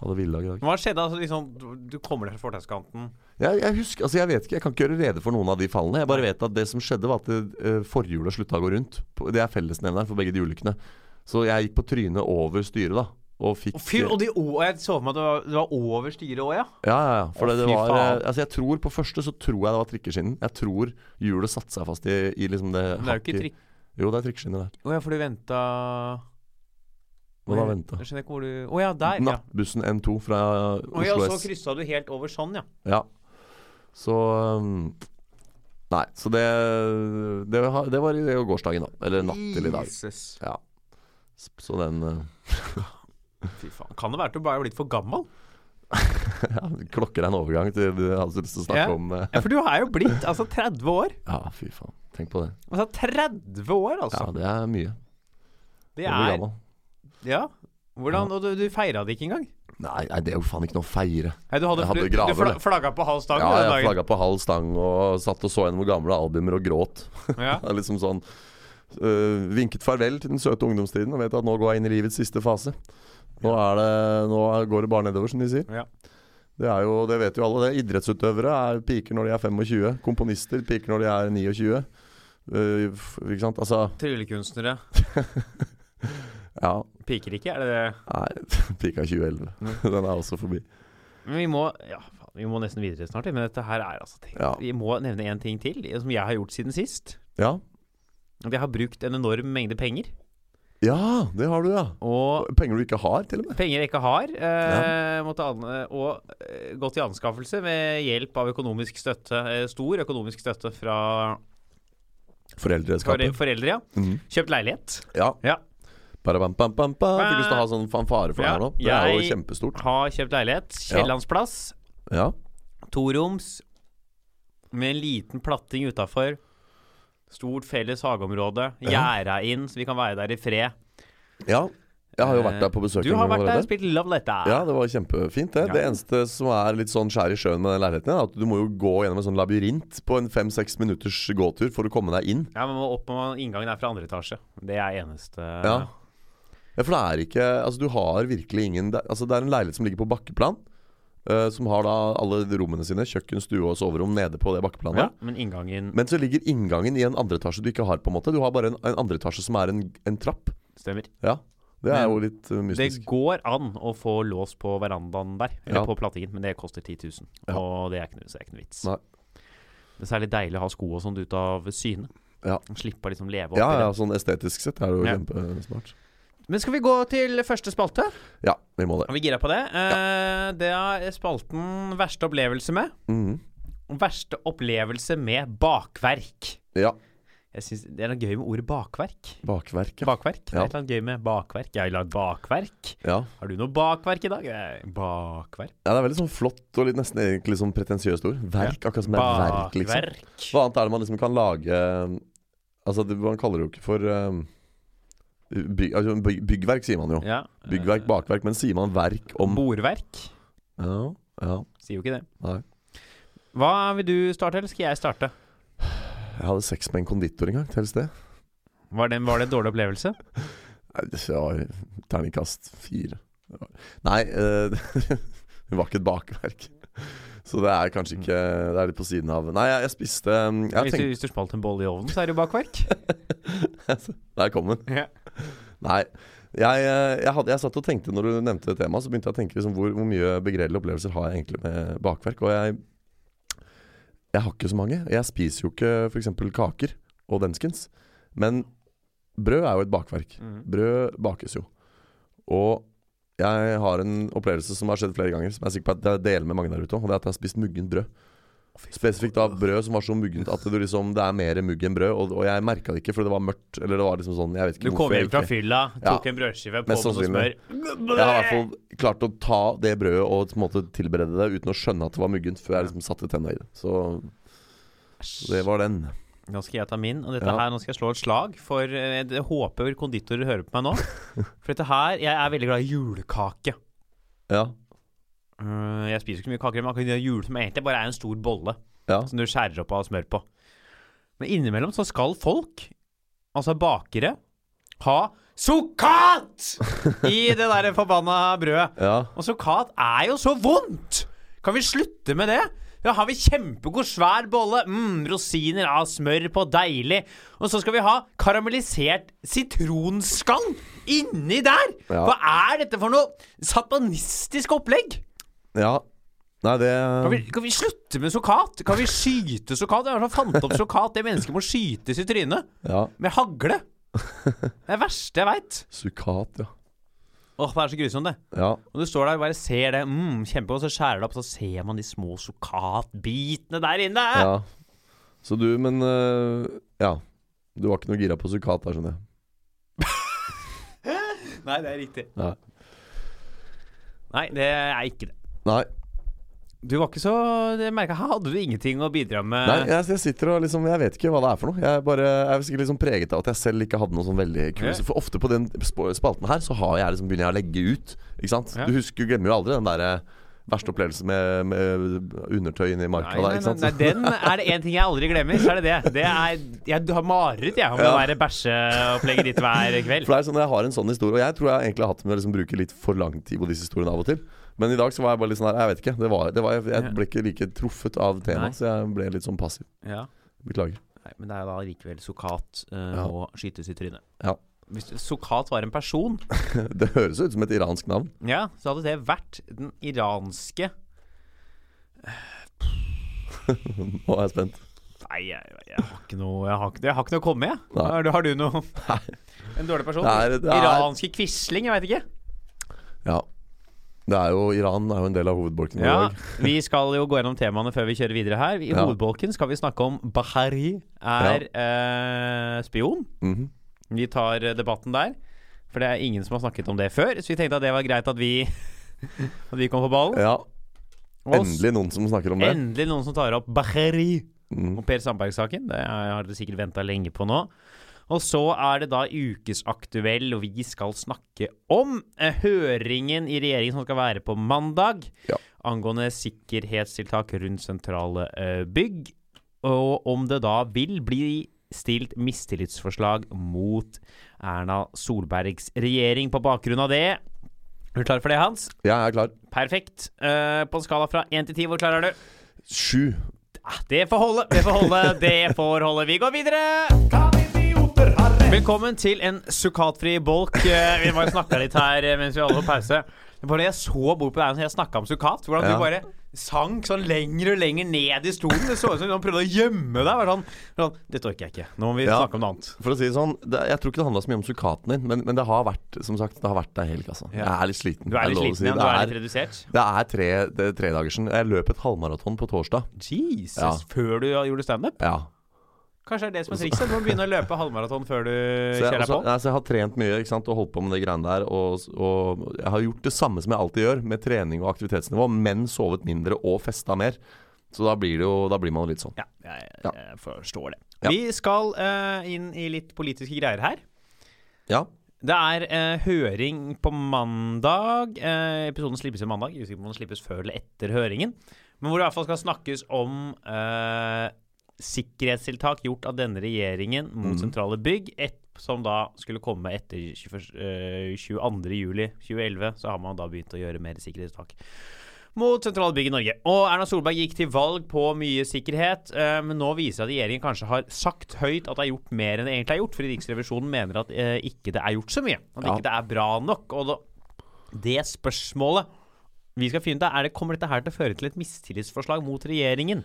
S2: hadde hviledag i dag.
S3: Hva skjedde? Altså, liksom, du- du kommer deg fra fortauskanten.
S2: Jeg, jeg husker, altså jeg vet ikke, jeg kan ikke gjøre rede for noen av de fallene. Jeg bare vet at det som skjedde, var at eh, forhjulet slutta å gå rundt. På- Det er fellesnevneren for begge de ulykkene. Så jeg gikk på trynet over styret, da. Og fikk
S3: Å, Fy, og de, å, jeg så for meg at det var, det var over styret òg, ja.
S2: Ja, ja, ja. For
S3: Å,
S2: det, det
S3: fy
S2: var eh,
S3: faen.
S2: Altså, jeg tror på første så tror jeg det var trikkeskinnen. Jeg tror hjulet satte seg fast i, i liksom det
S3: Men det er jo ikke
S2: hakket.
S3: trikk...
S2: Jo, det er trikkeskinner der.
S3: Å ja, for du venta
S2: Må da vente.
S3: Jeg skjønner ikke hvor du Å ja, der, ja.
S2: Nattbussen N2 fra
S3: Å ja,
S2: Oslo
S3: så
S2: S.
S3: kryssa du helt over sånn, ja.
S2: Ja. Så um, Nei, så det Det, har- det var i det var gårsdagen, da. Eller natt til i dag.
S3: Jesus.
S2: Ja. S- Så den eh,
S3: Fy faen. Kan det være at du bare er blitt for gammel?
S2: ja, Klokker er en overgang til det jeg hadde lyst til å snakke
S3: Ja.
S2: om. eh.
S3: Ja, for du er jo blitt altså 30 år.
S2: Ja, fy faen. Tenk på det.
S3: Altså 30 år,
S2: Ja,
S3: altså.
S2: det er mye.
S3: det
S2: Jeg blir
S3: er
S2: gammel.
S3: Ja. Hvordan, og du, du feira det ikke engang?
S2: Nei, nei, det er jo faen ikke noe å feire.
S3: Nei, du hadde,
S2: Jeg hadde
S3: du-
S2: graver,
S3: du fla,
S2: det.
S3: flagga på halv stang
S2: Ja,
S3: den
S2: jeg
S3: dagen.
S2: flagga på halv stang og satt og så gjennom gamle albumer og gråt.
S3: Ja.
S2: Det er liksom sånn øh, Vinket farvel til den søte ungdomstiden og vet at nå går jeg inn i livets siste fase. Nå, er det, nå går det bare nedover, som de sier.
S3: Ja.
S2: Det, er jo, det vet jo alle. det Idrettsutøvere er piker når de er 25. Komponister piker når de er 29. Øh, f- ikke sant? Altså
S3: Tryllekunstnere
S2: Ja.
S3: piker ikke, er det det?
S2: Nei, pika 2011.
S3: Mm.
S2: Den er også forbi.
S3: Men vi må Ja, faen, vi må nesten videre snart, men dette her er altså tenkt.
S2: Ja.
S3: Vi må nevne én ting til, som jeg har gjort siden sist.
S2: Ja.
S3: At jeg har brukt en enorm mengde penger.
S2: ja, det har du, ja.
S3: Og
S2: Penger du ikke har, til og med.
S3: penger jeg ikke har. Eh, måtte an og eh, gått i anskaffelse ved hjelp av økonomisk støtte. Eh, stor økonomisk støtte fra fore-
S2: Foreldreskapet.
S3: foreldre, ja.
S2: Mhm.
S3: Kjøpt leilighet.
S2: Ja.
S3: Ja.
S2: Ba-da-bam-bam-bam-bam. Fikk lyst til å ha sånn fanfare for det her nå. Det er jo
S3: Jeg-
S2: kjempestort.
S3: Har kjøpt leilighet.
S2: Ja.
S3: Kiellandsplass.
S2: Ja.
S3: Toroms med en liten platting utafor. Stort felles hageområde.
S2: Ja.
S3: Gjerda inn, så vi kan være der i fred.
S2: Ja, jeg har jo vært der på
S3: Eh,
S2: besøk.
S3: Du har
S2: en gang
S3: vært der og
S2: allerede.
S3: spilt Love Letter.
S2: Ja, det var kjempefint, det.
S3: Ja.
S2: Det eneste som er litt sånn skjær i sjøen med den leiligheten, er at du må jo gå gjennom en sånn labyrint på en fem-seks minutters gåtur for å komme deg inn.
S3: Ja, men må opp med inngangen er fra andre etasje. Det er eneste
S2: Ja. Ja, for det er ikke Altså, du har virkelig ingen det- Altså, det er en leilighet som ligger på bakkeplan. eh, som har da alle rommene sine, kjøkken, stue og soverom, nede på det bakkeplanet.
S3: Ja, Men inngangen
S2: Men så ligger inngangen i en andreetasje du ikke har, på en måte. Du har bare en, en andreetasje som er en, en trapp.
S3: stemmer.
S2: Ja. Det
S3: Men
S2: er jo litt eh,
S3: Det
S2: mystisk.
S3: går an å få lås på verandaen der, eller
S2: Ja.
S3: på plattingen, men det koster 10 000.
S2: Ja.
S3: Og det er ikke noe, så det er ikke noe vits.
S2: Nei.
S3: Det er særlig deilig å ha sko og sånt ut av syne.
S2: Ja.
S3: Slippe å liksom leve opp
S2: Ja,
S3: i
S2: ja, sånn estetisk sett er det jo
S3: Ja.
S2: kjempesmart.
S3: det. Men skal vi gå til første spalte?
S2: Ja, vi må det.
S3: Er vi gira på det? Eh, det er spalten Verste opplevelse med.
S2: Mhm.
S3: Verste opplevelse med bakverk.
S2: Ja.
S3: Jeg synes Det er noe gøy med ordet bakverk.
S2: Bakverk, ja.
S3: Bakverk? Det
S2: Ja.
S3: er et eller annet gøy med bakverk. Jeg har lagd bakverk.
S2: ja.
S3: Har du noe bakverk i dag? Eh, Bakverk.
S2: Ja, det er veldig sånn flott og litt nesten egentlig litt sånn pretensiøst ord. Verk, akkurat som det er verk, liksom.
S3: Bakverk.
S2: Hva annet er det man liksom kan lage um, Altså, det, man kaller det jo ikke for um, byg, altså, byg, Byggverk, sier man jo.
S3: Ja. eh,
S2: Byggverk, bakverk, men sier man verk om
S3: Bordverk.
S2: Ja, ja.
S3: Sier jo ikke det.
S2: Nei.
S3: Hva vil du starte, eller skal jeg starte?
S2: Jeg hadde sex med en konditor en gang, telles det?
S3: Var det, var det en dårlig opplevelse?
S2: Nei, det var Terningkast fire. Det var- Nei, eh, hun var ikke et bakverk. Så det er kanskje ikke Det er litt på siden av Nei, jeg, jeg spiste um, jeg
S3: Hvis
S2: tenkte-
S3: du, hvis du smalt en bolle i ovnen, så er det jo bakverk.
S2: Der kom den.
S3: Ja.
S2: Nei. Jeg, eh, jeg, hadde, jeg satt og tenkte når du nevnte det temaet, så begynte jeg å tenke liksom, hvor, hvor mye begredelige opplevelser har jeg egentlig med bakverk. Og jeg, jeg har ikke så mange. Jeg spiser jo ikke f.eks. kaker og denskens. Men brød er jo et bakverk.
S3: Mhm.
S2: Brød bakes jo. Og jeg har en opplevelse som har skjedd flere ganger, som jeg er sikker på at jeg deler med mange der ute òg. Og det er at jeg har spist muggent brød. Spesifikt da brød som var så muggent at det, liksom, det er mer mugg enn brød. Og, og jeg merka det ikke, for det var mørkt. Eller det var liksom sånn, jeg vet ikke
S3: Du kom
S2: jeg
S3: hjem fra
S2: ikke-
S3: fylla, tok
S2: Ja. sånn
S3: en brødskive, på med
S2: Mest
S3: noe smør.
S2: Jeg har i hvert fall klart å ta det brødet og på en måte tilberede det uten å skjønne at det var muggent, før jeg liksom satte tenna i det. Så det var den.
S3: Nå skal jeg ta min, og dette
S2: Ja.
S3: her, nå skal jeg slå et slag. For eh, jeg håper konditorer hører på meg nå. For dette her Jeg er veldig glad i julekake.
S2: Ja.
S3: Eh, jeg spiser ikke så mye kaker, men akkurat de der jule som egentlig bare er en stor bolle
S2: ja.
S3: som du skjærer opp og har smør på. Men innimellom så skal folk, altså bakere, ha sukkat i det der forbanna brødet.
S2: ja.
S3: Og sukkat er jo så vondt! Kan vi slutte med det? Da har vi kjempegod svær bolle, mm, rosiner av smør på, deilig. Og så skal vi ha karamellisert sitronskall inni der!
S2: Ja.
S3: Hva er dette for noe satanistisk opplegg?
S2: ja. Nei, det
S3: Kan vi, kan vi slutte med sukkat? Kan vi skyte sukkat? Jeg har sånn fant opp sukkat. Det mennesket må skytes i trynet
S2: Ja.
S3: med hagle. Det er det verste jeg veit.
S2: Sukkat, ja.
S3: Åh, det er så grusomt, det.
S2: Ja.
S3: Og du står der og bare ser det, mm, kjempegodt, så skjærer det opp, så ser man de små sukkatbitene der inne.
S2: ja. Så du, men øh, Ja. Du var ikke noe gira på sukkat der, skjønner jeg.
S3: Nei, det er riktig.
S2: Nei.
S3: Nei, det er ikke det.
S2: Nei.
S3: Du var ikke så Jeg merka her hadde du ingenting å bidra med.
S2: Nei, jeg, jeg sitter og liksom Jeg vet ikke hva det er for noe. Jeg, er bare, jeg er sikkert liksom preget av at jeg selv ikke hadde noe sånn veldig kul
S3: Ja.
S2: For ofte på den sp- spalten her, så har jeg liksom begynner jeg å legge ut. Ikke sant?
S3: Ja.
S2: Du husker, du glemmer jo aldri den derre verste opplevelsen med, med undertøy inne i
S3: Nei,
S2: marka der.
S3: nei,
S2: Ikke
S3: nei,
S2: sant?
S3: nei, den er det én ting jeg aldri glemmer, så er det det. det er, jeg har mareritt jeg, om det å
S2: Ja.
S3: være bæsjeopplegget ditt hver kveld.
S2: For det er sånn, Jeg har en sånn historie, og jeg tror jeg egentlig har hatt med å liksom bruke litt for lang tid på disse historiene av og til. Men i dag så var jeg bare litt sånn her Jeg vet ikke. Det var, det var, jeg,
S3: Ja.
S2: jeg ble ikke like truffet av
S3: Nei.
S2: temaet, så jeg ble litt sånn passiv.
S3: Ja.
S2: Beklager.
S3: Nei, men det er jo da likevel sukkat eh,
S2: Ja.
S3: og skytes i trynet.
S2: Ja.
S3: Hvis sukkat var en person,
S2: Det høres ut som et iransk navn.
S3: ja, så hadde det vært den iranske
S2: Nå er jeg spent.
S3: Nei, jeg, jeg har ikke noe Jeg har ikke, jeg har ikke noe å komme med. jeg.
S2: Nei.
S3: Har du, har du noe
S2: Nei.
S3: En dårlig person?
S2: Det er, det er,
S3: Iranske Quisling, jeg veit ikke.
S2: Ja. Det er jo, Iran er jo en del av hovedbolken vår i
S3: Ja,
S2: dag.
S3: Vi skal jo gå gjennom temaene før vi kjører videre her. I
S2: Ja.
S3: hovedbolken skal vi snakke om Bahari er eh, spion.
S2: Mhm.
S3: Vi tar eh, debatten der. For det er ingen som har snakket om det før, så vi tenkte at det var greit at vi At vi kom på ballen.
S2: Ja,
S3: Og s-
S2: endelig noen som snakker om det.
S3: endelig noen som tar opp Bahari
S2: Mhm.
S3: og Per Sandberg-saken. Det er- har dere sikkert venta lenge på nå. Og så er det da ukesaktuell, og vi skal snakke om eh, høringen i regjeringen som skal være på mandag,
S2: Ja.
S3: angående sikkerhetstiltak rundt sentrale eh, bygg, og om det da vil bli stilt mistillitsforslag mot Erna Solbergs regjering på bakgrunn av det. Er du klar for det, Hans?
S2: Jeg er klar.
S3: Perfekt. Eh, på en skala fra én til ti, hvor klar er du?
S2: Sju.
S3: Ah, Det får holde, det får holde, det får holde. Vi går videre! Velkommen til en sukkatfri bolk. Eh, Vi bare snakka litt her eh, mens vi holdt på pause. Det var det jeg så bort på deg når jeg snakka om sukkat. Hvordan
S2: Ja.
S3: du bare sank sånn lenger og lenger ned i stolen. Det så ut som du prøvde å gjemme deg. Bare sånn, sånn, Dette orker jeg ikke. Nå må vi
S2: Ja.
S3: snakke om noe annet.
S2: For å si det sånn, det, jeg tror ikke det handla så mye om sukkaten din, men, men det har vært som sagt, det har vært ei helg, altså. Jeg er litt sliten.
S3: Du
S2: det
S3: er litt
S2: lov å
S3: sliten
S2: si.
S3: igjen. Du er litt
S2: det, er,
S3: redusert.
S2: det er tre det er tredagersen. Jeg løp et halvmaraton på torsdag.
S3: Jesus.
S2: Ja.
S3: Før du gjorde standup?
S2: Ja.
S3: Kanskje det er det som er trikset? Du må begynne å løpe halvmaraton før du
S2: Så jeg, altså,
S3: kjører deg
S2: også,
S3: på.
S2: nei, så jeg har trent mye ikke sant, og holdt på med de greiene der. Og, og jeg har gjort det samme som jeg alltid gjør, med trening og aktivitetsnivå, men sovet mindre og festa mer. Så da blir, det jo, da blir man jo litt sånn.
S3: Ja, jeg,
S2: Ja.
S3: jeg forstår det.
S2: Ja.
S3: Vi skal eh, inn i litt politiske greier her.
S2: Ja.
S3: Det er eh, høring på mandag. Eh, episoden slippes i mandag. Jeg er Usikker på om den slippes før eller etter høringen. Men hvor det i hvert fall skal snakkes om eh, sikkerhetstiltak gjort av denne regjeringen mot
S2: Mhm.
S3: sentrale bygg, et, som da skulle komme etter 21, eh, 22. juli 2011. Så har man da begynt å gjøre mer sikkerhetstiltak mot sentralbygget i Norge. Og Erna Solberg gikk til valg på mye sikkerhet, eh, men nå viser det at regjeringen kanskje har sagt høyt at det er gjort mer enn det egentlig er gjort, fordi Riksrevisjonen mener at eh, ikke det er gjort så mye. At
S2: Ja.
S3: ikke det er bra nok. Og da, det spørsmålet vi skal finne ut, er det kommer dette her til å føre til et mistillitsforslag mot regjeringen.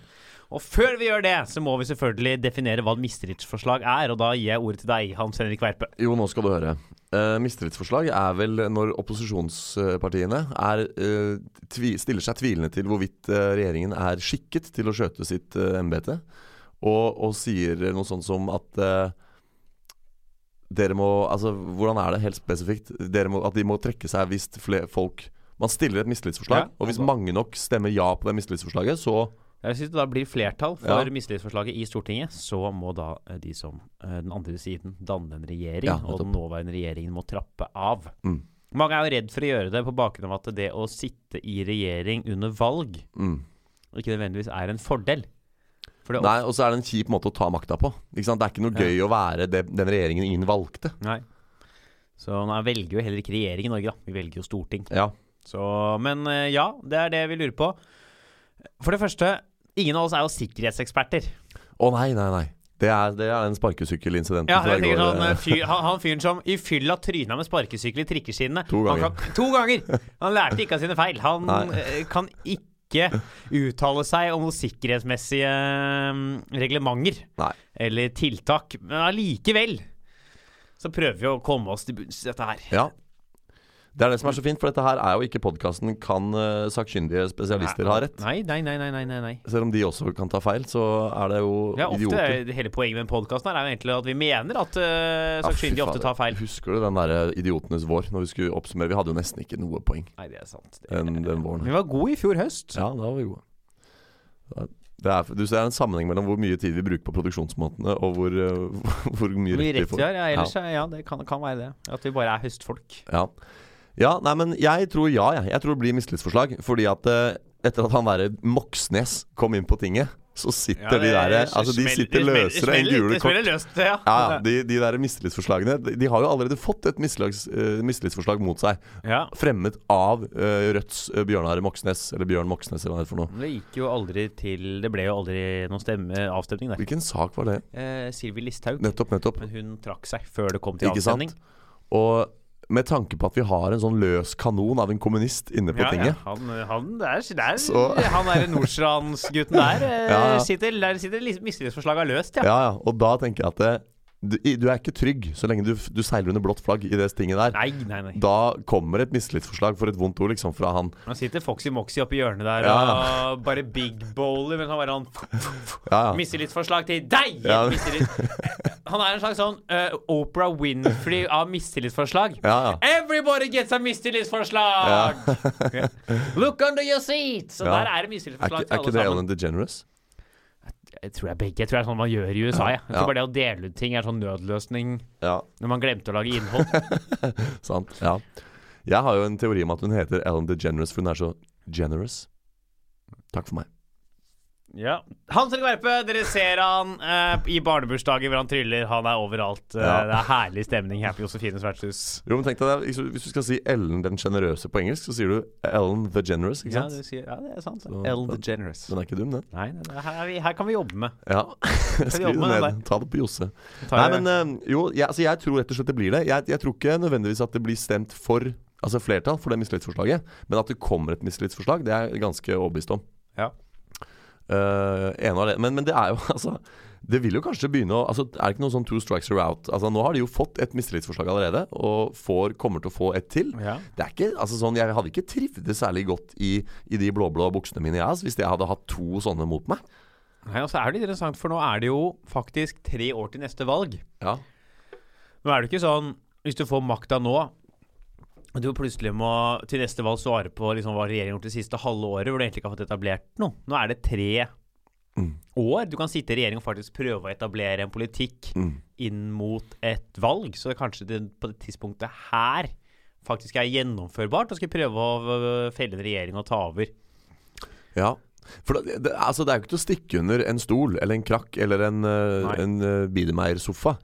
S3: Og før vi gjør det, så må vi selvfølgelig definere hva et mistillitsforslag er, og da gir jeg ordet til deg, Hans Henrik Verpe.
S2: Jo, nå skal du høre. Uh, Mistillitsforslag er vel når opposisjonspartiene er, eh, tvi, stiller seg tvilende til hvorvidt eh, regjeringen er skikket til å skjøte sitt uh, embete, og, og sier noe sånt som at eh, dere må Altså, hvordan er det helt spesifikt? Dere må, at de må trekke seg hvis fle- folk Man stiller et mistillitsforslag,
S3: Ja,
S2: og hvis
S3: altså-
S2: mange nok stemmer ja på det mistillitsforslaget, så
S3: Jeg synes det da blir flertall for
S2: Ja.
S3: mistillitsforslaget i Stortinget, så må da eh, de som eh, den andre siden danne en regjering,
S2: Ja,
S3: og den nåværende regjeringen må trappe av.
S2: Mm.
S3: Mange er jo redd for å gjøre det på bakgrunn av at det å sitte i regjering under valg
S2: mm.
S3: ikke nødvendigvis er en fordel. For det
S2: Nei, og så er det en kjip måte å ta makta på. Ikke sant? Det er ikke noe
S3: Ja.
S2: gøy å være det, den regjeringen ingen valgte.
S3: Nei. Så nå velger jo heller ikke regjering i Norge, da. Vi velger jo storting.
S2: Ja.
S3: Så, men eh, ja, det er det vi lurer på. For det første, ingen av oss er jo sikkerhetseksperter.
S2: Å nei, nei, nei. Det er, det er den sparkesykkelincidenten
S3: Ja,
S2: fra
S3: jeg
S2: i
S3: tenker
S2: går.
S3: sånn, eh, fyr, han, han fyren som i fylla tryna med sparkesykkel i trikkeskinnene.
S2: To
S3: Han
S2: ganger.
S3: kan- to ganger! Han lærte ikke av sine feil. Han
S2: Nei.
S3: eh, kan ikke uttale seg om noen sikkerhetsmessige mm, reglementer
S2: Nei.
S3: eller tiltak. Men allikevel så prøver vi å komme oss til bunns i dette her.
S2: Ja. Det er det som er så fint, for dette her er jo ikke podkasten Kan eh, sakkyndige spesialister ha rett?
S3: Nei, nei, nei, nei, nei, nei, nei.
S2: Selv om de også kan ta feil, så er det jo
S3: Ja, ofte
S2: idioter.
S3: er Hele poenget med podkasten er jo egentlig at vi mener at eh,
S2: Ja, fy
S3: sakkyndige ofte
S2: fader.
S3: tar feil.
S2: Husker du den derre idiotenes vår, når vi skulle oppsummere? Vi hadde jo nesten ikke noe poeng
S3: Nei, det er sant. Det-
S2: den, den våren.
S3: Vi var gode i fjor høst.
S2: Eh. Ja, da var vi gode. Det er, du ser det er en sammenheng mellom hvor mye tid vi bruker på produksjonsmåtene, og hvor, eh, hvor mye
S3: Mye
S2: rett vi
S3: rett
S2: får.
S3: vi har. Ja, ellers ja. ja, det kan, kan være det. At vi bare er høstfolk.
S2: Ja. ja, nei, men jeg tror ja, jeg. Jeg tror det blir mistillitsforslag. Fordi at eh, etter at han derre Moxnes kom inn på tinget, så sitter de der Altså, de sitter løsere enn gule kort.
S3: Smeller løst, ja.
S2: Ja, ja, de, de der mistillitsforslagene de, de har jo allerede fått et mislighets- eh, mistillitsforslag mot seg.
S3: Ja.
S2: Fremmet av eh, Rødts eh, Bjørnar Moxnes, eller Bjørn Moxnes, eller hva det er for noe.
S3: Men Det gikk jo aldri til Det ble jo aldri noen stemme, avstemning der.
S2: Hvilken sak var det?
S3: Eh, Sylvi Listhaug.
S2: Nettopp, nettopp.
S3: Men hun trakk seg før det kom til
S2: Ikke sant?
S3: avstemning.
S2: Og med tanke på at vi har en sånn løs kanon av en kommunist inne på
S3: Ja, ja.
S2: tinget
S3: Han, han der, der
S2: Så-
S3: Han der Nordstrandsgutten der, eh,
S2: Ja, ja.
S3: sitter, der sitter lis- mistillitsforslaget løst, ja.
S2: Ja, ja, og da tenker jeg at det, du, i- du er ikke trygg så lenge du, f- du seiler under blått flagg i det stinget der.
S3: Nei, nei, nei.
S2: Da kommer et mistillitsforslag for et vondt ord liksom fra han.
S3: Nå sitter Foxy Moxy oppi hjørnet der
S2: Ja.
S3: og bare big bowler, men han bare han
S2: Ja, ja.
S3: Mistillitsforslag til deg!
S2: Ja.
S3: Mistillit. Han er en slags sånn uh, Opera Winfrey av mistillitsforslag.
S2: ja, ja.
S3: Everybody gets a mistillitsforslag! Look under your seat! Så
S2: Ja.
S3: der er det
S2: Er ikke,
S3: mistillitsforslag til
S2: er ikke
S3: alle
S2: det
S3: sammen.
S2: Ellen DeGeneres?
S3: Jeg tror det er begge. Jeg tror det er sånn man gjør i USA. Ja. Jeg
S2: Ja.
S3: tror bare det å dele ut ting er sånn nødløsning
S2: Ja,
S3: når man glemte å lage innhold.
S2: sant. Ja. Jeg har jo en teori om at hun heter Ellen DeGeneres, for hun er så generous. Takk for meg.
S3: Ja. Hans Erik Verpe, dere ser han eh, i barnebursdager hvor han tryller. Han er overalt. Eh,
S2: Ja.
S3: Det er herlig stemning her på Josefines vertshus.
S2: Jo, men tenk deg, det, liksom, Hvis du skal si Ellen den sjenerøse på engelsk, så sier du Ellen the Generous, ikke
S3: Ja,
S2: sant?
S3: du sier, ja, det er sant.
S2: Så-
S3: Ellen DeGeneres.
S2: Den er ikke dum, den.
S3: Nei, nei, nei, her, er vi, her kan vi jobbe med.
S2: Ja. Skriv
S3: jobbe
S2: det
S3: med den
S2: ned. Ta det på Josse.
S3: Tar-
S2: Nei, men eh, jo, jeg, altså, jeg tror rett og slett det blir det. Jeg, jeg tror ikke nødvendigvis at det blir stemt for Altså flertall for det mistillitsforslaget. Men at det kommer et mistillitsforslag, det er jeg ganske overbevist om.
S3: Ja.
S2: Eh, ene og alene. Men, men det er jo altså Det vil jo kanskje begynne å altså, Er det ikke noe sånn two strikes are out? Altså Nå har de jo fått et mistillitsforslag allerede, og får, kommer til å få et til.
S3: Ja.
S2: Det er ikke, altså sånn, Jeg hadde ikke trivdes særlig godt i, i de blå-blå buksene mine jeg, altså, hvis jeg hadde hatt to sånne mot meg.
S3: Nei, og så er det litt interessant, for nå er det jo faktisk tre år til neste valg.
S2: Ja,
S3: Nå er det ikke sånn Hvis du får makta nå og du plutselig må til neste valg svare på liksom, hva regjeringen har gjort det siste halve året, hvor du egentlig ikke har fått etablert noe. Nå er det tre
S2: Mm.
S3: år. Du kan sitte i regjering og faktisk prøve å etablere en politikk
S2: Mm.
S3: inn mot et valg. Så kanskje det på det tidspunktet her faktisk er gjennomførbart, og skal prøve å øh, felle en regjering og ta over.
S2: Ja. For det, det, altså, det er jo ikke til å stikke under en stol eller en krakk eller en, uh,
S3: Nei.
S2: en uh, Biedemeyer-sofa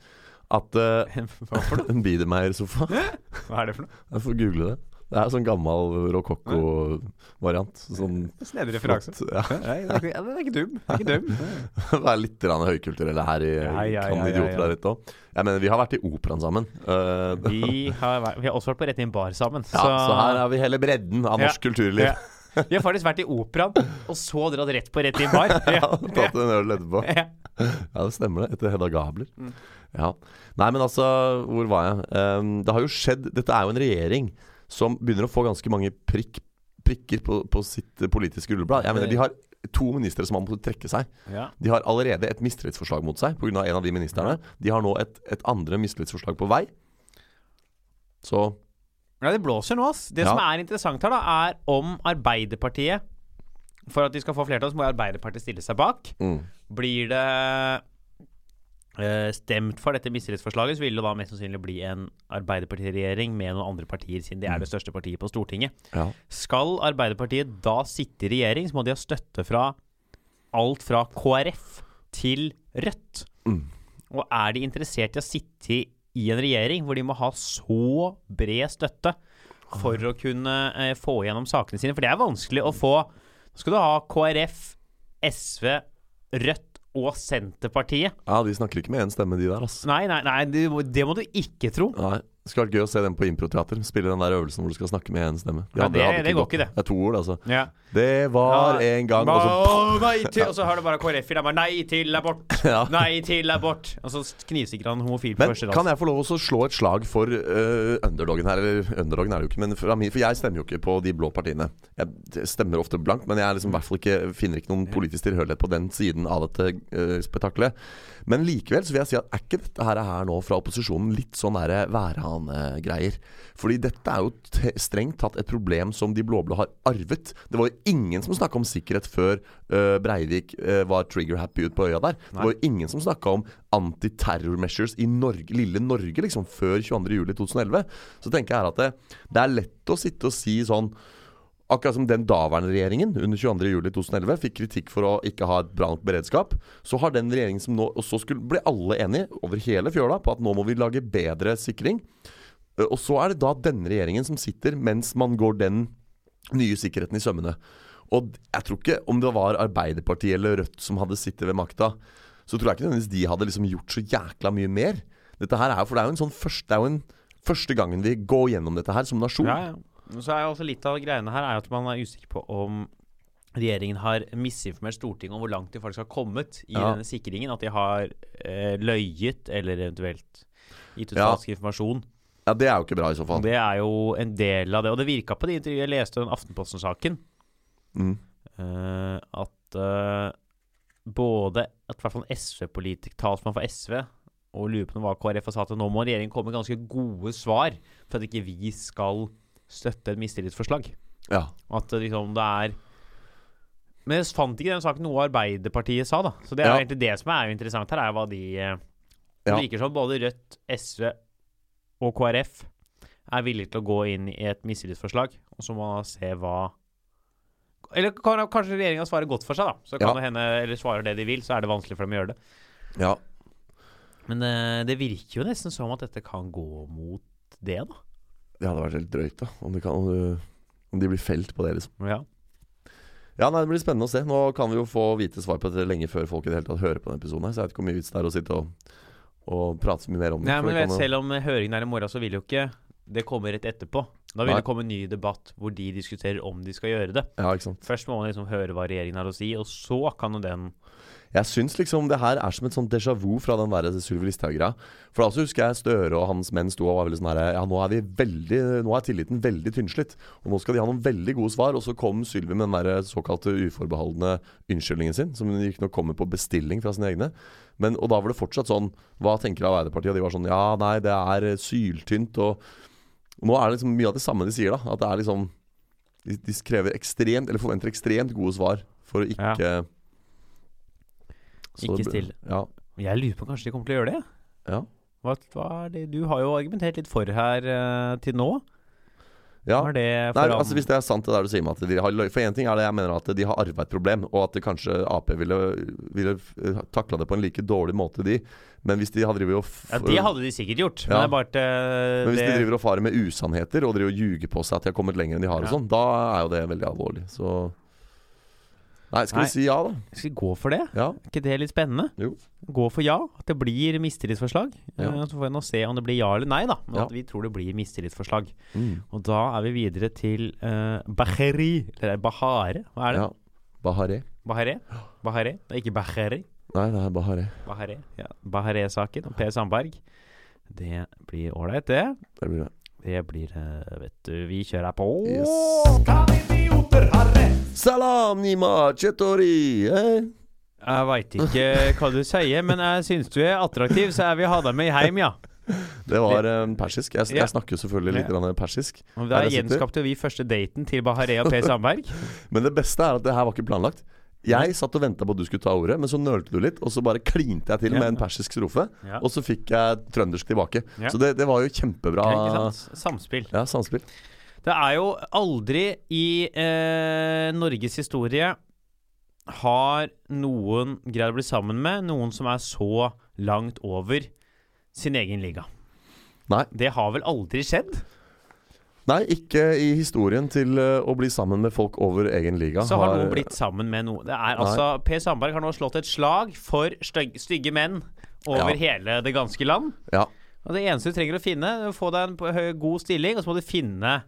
S2: at eh,
S3: Hva for noe?
S2: En Biedemeyer-sofa?
S3: Hva er det for noe?
S2: Jeg får google det. Det er sånn gammel rokokko-variant. Sånn
S3: Snedig referanse.
S2: flott, ja.
S3: Nei, det er ikke- ja, den er ikke dum. Den er ikke dum.
S2: Være litt grann høykulturelle her i
S3: Ja, ja,
S2: Kan
S3: ja, ja, ja.
S2: idioter der ute òg. Jeg mener, vi har vært i operaen sammen. Eh,
S3: Vi har, vært, vi har også vært på Rett inn bar sammen.
S2: ja, så her har vi hele bredden av
S3: Ja.
S2: norsk kulturliv.
S3: Ja. Vi har faktisk vært i operaen, og så dratt rett på Rett inn bar.
S2: Ja, Tatt en øl etterpå.
S3: Ja.
S2: Ja, det stemmer det. Etter Hedda Gabler.
S3: Mm.
S2: Ja. Nei, men altså, hvor var jeg? Ehm, det har jo skjedd Dette er jo en regjering som begynner å få ganske mange prikk, prikker på, på sitt eh, politiske rulleblad. Jeg mener, De har to ministre som har måttet trekke seg.
S3: Ja.
S2: De har allerede et mistillitsforslag mot seg pga. en av de ministrene. De har nå et, et andre mistillitsforslag på vei. Så
S3: Ja, det blåser nå, ass. Det
S2: Ja.
S3: som er interessant her, da, er om Arbeiderpartiet For at de skal få flertall, så må Arbeiderpartiet stille seg bak.
S2: mm.
S3: Blir det eh, stemt for dette mistillitsforslaget, så vil det da mest sannsynlig bli en Arbeiderpartiregjering med noen andre partier, siden de er det største partiet på Stortinget.
S2: ja.
S3: Skal Arbeiderpartiet da sitte i regjering, så må de ha støtte fra alt fra KrF til Rødt.
S2: Mm.
S3: Og er de interessert i å sitte i en regjering hvor de må ha så bred støtte for å kunne eh, få igjennom sakene sine? For det er vanskelig å få Nå skal du ha KrF, SV, Rødt og Senterpartiet.
S2: ja, de snakker ikke med én stemme, de der, ass.
S3: Nei, nei, nei, det, må- det må du ikke tro.
S2: Nei. Det skulle vært gøy å se dem på improteater. Spille den der øvelsen hvor du skal snakke med én stemme. De
S3: Ja,
S2: andre
S3: det-
S2: hadde
S3: det går ikke, det.
S2: Det er to ord, altså.
S3: Ja.
S2: Det var
S3: Ja,
S2: en gang
S3: Ba-
S2: og så,
S3: Å, nei til, og så har det bare KrF i dem. Nei til abort!
S2: ja.
S3: Nei til abort! Og så knivstikker han homofil på
S2: Men
S3: første
S2: kan
S3: rad.
S2: jeg få lov å så slå et slag for eh, underdogen her? Eller underdogen er det jo ikke, men fra min, for jeg stemmer jo ikke på de blå partiene. Jeg stemmer ofte blankt, men jeg er liksom i hvert fall ikke, finner ikke noen politisk tilhørighet på den siden av dette uh, spetakkelet. Men likevel så vil jeg si at er ikke dette her, her nå fra opposisjonen litt sånn derre værhane-greier? Fordi dette er jo t strengt tatt et problem som de blå-blå har arvet. Det var jo ingen som snakka om sikkerhet før eh, Breivik eh, var trigger-happy ut på øya der. Det var jo ingen som snakka om anti-terror measures i Norge, lille Norge liksom, før 22.07.2011. Så tenker jeg her at det, det er lett å sitte og si sånn Akkurat som den daværende regjeringen under 22.07.2011 fikk kritikk for å ikke ha et bra nok beredskap, så har den regjeringen som nå Og så skulle, ble alle enige over hele fjøla på at nå må vi lage bedre sikring. Eh, Og så er det da denne regjeringen som sitter mens man går den nye sikkerheten i sømmene. Og d- jeg tror ikke om det var Arbeiderpartiet eller Rødt som hadde sittet ved makta, så tror jeg ikke nødvendigvis de hadde liksom gjort så jækla mye mer. Dette her er jo, for det er jo en sånn første, det er jo en første gangen vi går gjennom dette her som nasjon.
S3: Ja, ja. Men Så er jo også litt av greiene her er jo at man er usikker på om regjeringen har misinformert Stortinget om hvor langt de faktisk har kommet i
S2: Ja.
S3: denne sikringen. At de har eh, løyet, eller eventuelt gitt ut
S2: Ja.
S3: falsk informasjon.
S2: Ja, Det er jo ikke bra i så fall.
S3: Det er jo en del av det. Og det virka på de intervjuene jeg leste om Aftenposten-saken,
S2: Mm.
S3: eh, at eh, både at i hvert fall en SV-politiker, talsmann for SV, og lurer på om det var KrF, og sa at nå må regjeringen komme med ganske gode svar for at ikke vi skal støtte et mistillitsforslag.
S2: Ja.
S3: At det liksom det er Men jeg fant ikke i den saken noe Arbeiderpartiet sa, da. Så det er
S2: Ja.
S3: jo egentlig det som er jo interessant her, er hva de eh, Det
S2: Ja.
S3: virker som både Rødt, SV og KrF er villige til å gå inn i et mistillitsforslag, og så må man se hva eller kan, kanskje regjeringa svarer godt for seg, da. Så kan
S2: Ja.
S3: det hende, eller svarer det de vil, så er det vanskelig for dem å gjøre det.
S2: ja.
S3: Men eh, det virker jo nesten som at dette kan gå mot det, da.
S2: Det hadde vært helt drøyt, da. Om, det kan, om, du, om de blir felt på det, liksom.
S3: Ja.
S2: Ja, nei, Det blir spennende å se. Nå kan vi jo få vite svar på dette lenge før folk i det hele tatt hører på denne episoden. her Så jeg vet ikke hvor mye vits det er å sitte og, og prate så mye mer om det.
S3: Nei,
S2: for
S3: men
S2: det
S3: vet,
S2: kan jo-
S3: selv om eh, høringen er i morgen, så vil jo ikke det komme rett etterpå. Da vil
S2: Nei.
S3: det komme en ny debatt hvor de diskuterer om de skal gjøre det.
S2: Ja, ikke sant.
S3: Først må man liksom høre hva regjeringen har å si, og så kan jo den
S2: Jeg syns liksom det her er som et sånt déjà vu fra den der Sylvi Listhaug-greia. For da også husker jeg Støre og hans menn sto og var veldig sånn herre Ja, nå er vi veldig Nå er tilliten veldig tynnslitt. Og nå skal de ha noen veldig gode svar. Og så kom Sylvi med den der såkalte uforbeholdne unnskyldningen sin, som hun riktignok kommer på bestilling fra sine egne. Men, og da var det fortsatt sånn Hva tenker Arbeiderpartiet? Og de var sånn Ja, nei, det er syltynt og og Nå er det liksom mye av det samme de sier, da. At det er liksom De, de krever ekstremt, eller forventer ekstremt gode svar for å ikke Så
S3: ikke
S2: det ble-
S3: stille.
S2: Ja.
S3: Jeg lurer på kanskje de kommer til å gjøre det?
S2: Ja.
S3: Hva, hva er det? Du har jo argumentert litt for her eh, til nå.
S2: Ja.
S3: Hva er det
S2: Nei,
S3: for
S2: altså Hvis det er sant det der du sier med at de har løy- For én ting er det jeg mener at de har arva et problem, og at det kanskje Ap ville, ville takla det på en like dårlig måte, de. Men hvis de har driver og f-
S3: ja, Det hadde de sikkert gjort, men
S2: Ja.
S3: det er bare at eh,
S2: men hvis de
S3: det-
S2: driver og farer med usannheter og driver og ljuger på seg at de har kommet lenger enn de har, og
S3: Ja.
S2: sånn, da er jo det veldig alvorlig. Så Nei, skal
S3: Nei.
S2: vi si ja, da?
S3: Skal vi gå for det?
S2: Ja.
S3: Er ikke det litt spennende?
S2: Jo.
S3: Gå for ja, at det blir mistillitsforslag.
S2: Ja.
S3: Eh, Så får vi nå se om det blir ja eller nei, da. Men
S2: Ja.
S3: at vi tror det blir mistillitsforslag.
S2: Mm.
S3: Og da er vi videre til uh, Bahari. Eller Bahare, hva er det?
S2: Ja. Bahare.
S3: Bahare? Bahare? Det er ikke Bahari.
S2: Nei, det er Bahare.
S3: Bahare. Ja. Bahare-saken og Per Sandberg. Det blir ålreit, det.
S2: Det blir det.
S3: Det blir eh, Vet du, vi kjører på.
S2: Yes. Salam nima chetori! Eh?
S3: Jeg veit ikke hva du sier, men jeg syns du er attraktiv, så jeg vil ha deg med hjem, ja.
S2: Det var eh, persisk. Jeg,
S3: Ja.
S2: jeg snakker jo selvfølgelig litt
S3: Ja.
S2: grann persisk.
S3: Og
S2: Er
S3: Der
S2: det sitter?
S3: gjenskapte vi første daten til Bahareh og Per Sandberg.
S2: Men det beste er at det her var ikke planlagt. Jeg satt og venta på at du skulle ta ordet, men så nølte du litt, og så bare klinte jeg til
S3: Ja.
S2: med en persisk strofe.
S3: Ja.
S2: Og så fikk jeg trøndersk tilbake.
S3: Ja.
S2: Så det, det var jo kjempebra
S3: Ikke sant? Samspill.
S2: ja, samspill.
S3: Det er jo aldri i eh, Norges historie har noen greid å bli sammen med noen som er så langt over sin egen liga.
S2: Nei.
S3: Det har vel aldri skjedd?
S2: Nei, ikke i historien til eh, å bli sammen med folk over egen liga.
S3: Så har noen blitt sammen med noen. Det er altså, Per Sandberg har nå slått et slag for stygg, stygge menn over
S2: Ja.
S3: hele det ganske land.
S2: Ja.
S3: Og det eneste du trenger å finne, er å få deg en p- høy- god stilling, og så må du finne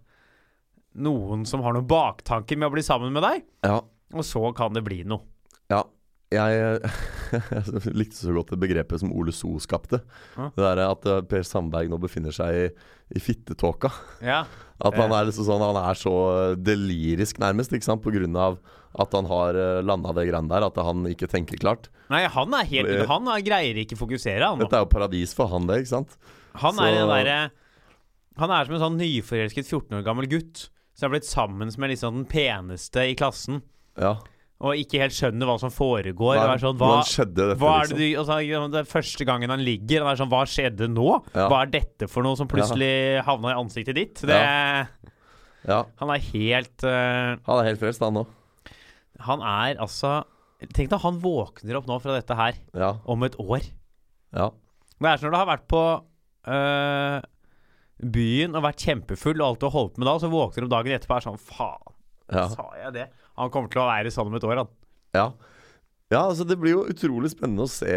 S3: noen som har noen baktanker med å bli sammen med deg,
S2: ja.
S3: og så kan det bli noe.
S2: Ja. Jeg, eh, jeg likte så godt det begrepet som Ole So skapte.
S3: Ja.
S2: Det derre at eh, Per Sandberg nå befinner seg i, i fittetåka.
S3: Ja.
S2: At han er, liksom sånn, han er så delirisk nærmest, ikke sant? På grunn av at han har landa det greiene der, at han ikke tenker klart.
S3: Nei, han er helt
S2: Eh,
S3: Han er, greier ikke å fokusere, han nå.
S2: Dette er jo paradis for han, det, ikke sant?
S3: Han er
S2: så-
S3: den derre Han er som en sånn nyforelsket 14 år gammel gutt som er blitt sammen med liksom den peneste i klassen,
S2: Ja.
S3: og ikke helt skjønnner hva som foregår. og
S2: Nei,
S3: er sånn, hva,
S2: hvordan skjedde dette, liksom?
S3: hva er det du og så, er Det er første gangen han ligger, han er sånn Hva skjedde nå?
S2: Ja.
S3: Hva er dette for noe som plutselig havna i ansiktet ditt? Det
S2: liksom? Ja.
S3: Han er helt eh,
S2: Han er helt frelst, han nå.
S3: Han er altså Tenk deg han våkner opp nå fra dette her
S2: Ja.
S3: om et år.
S2: ja.
S3: Det er som når du har vært på eh, byen og vært kjempefull og alt du har holdt på med da, så våkner du opp dagen etterpå og er sånn Faen,
S2: Ja.
S3: sa jeg det? Han kommer til å være sånn om et år, han.
S2: ja. ja, altså det blir jo utrolig spennende å se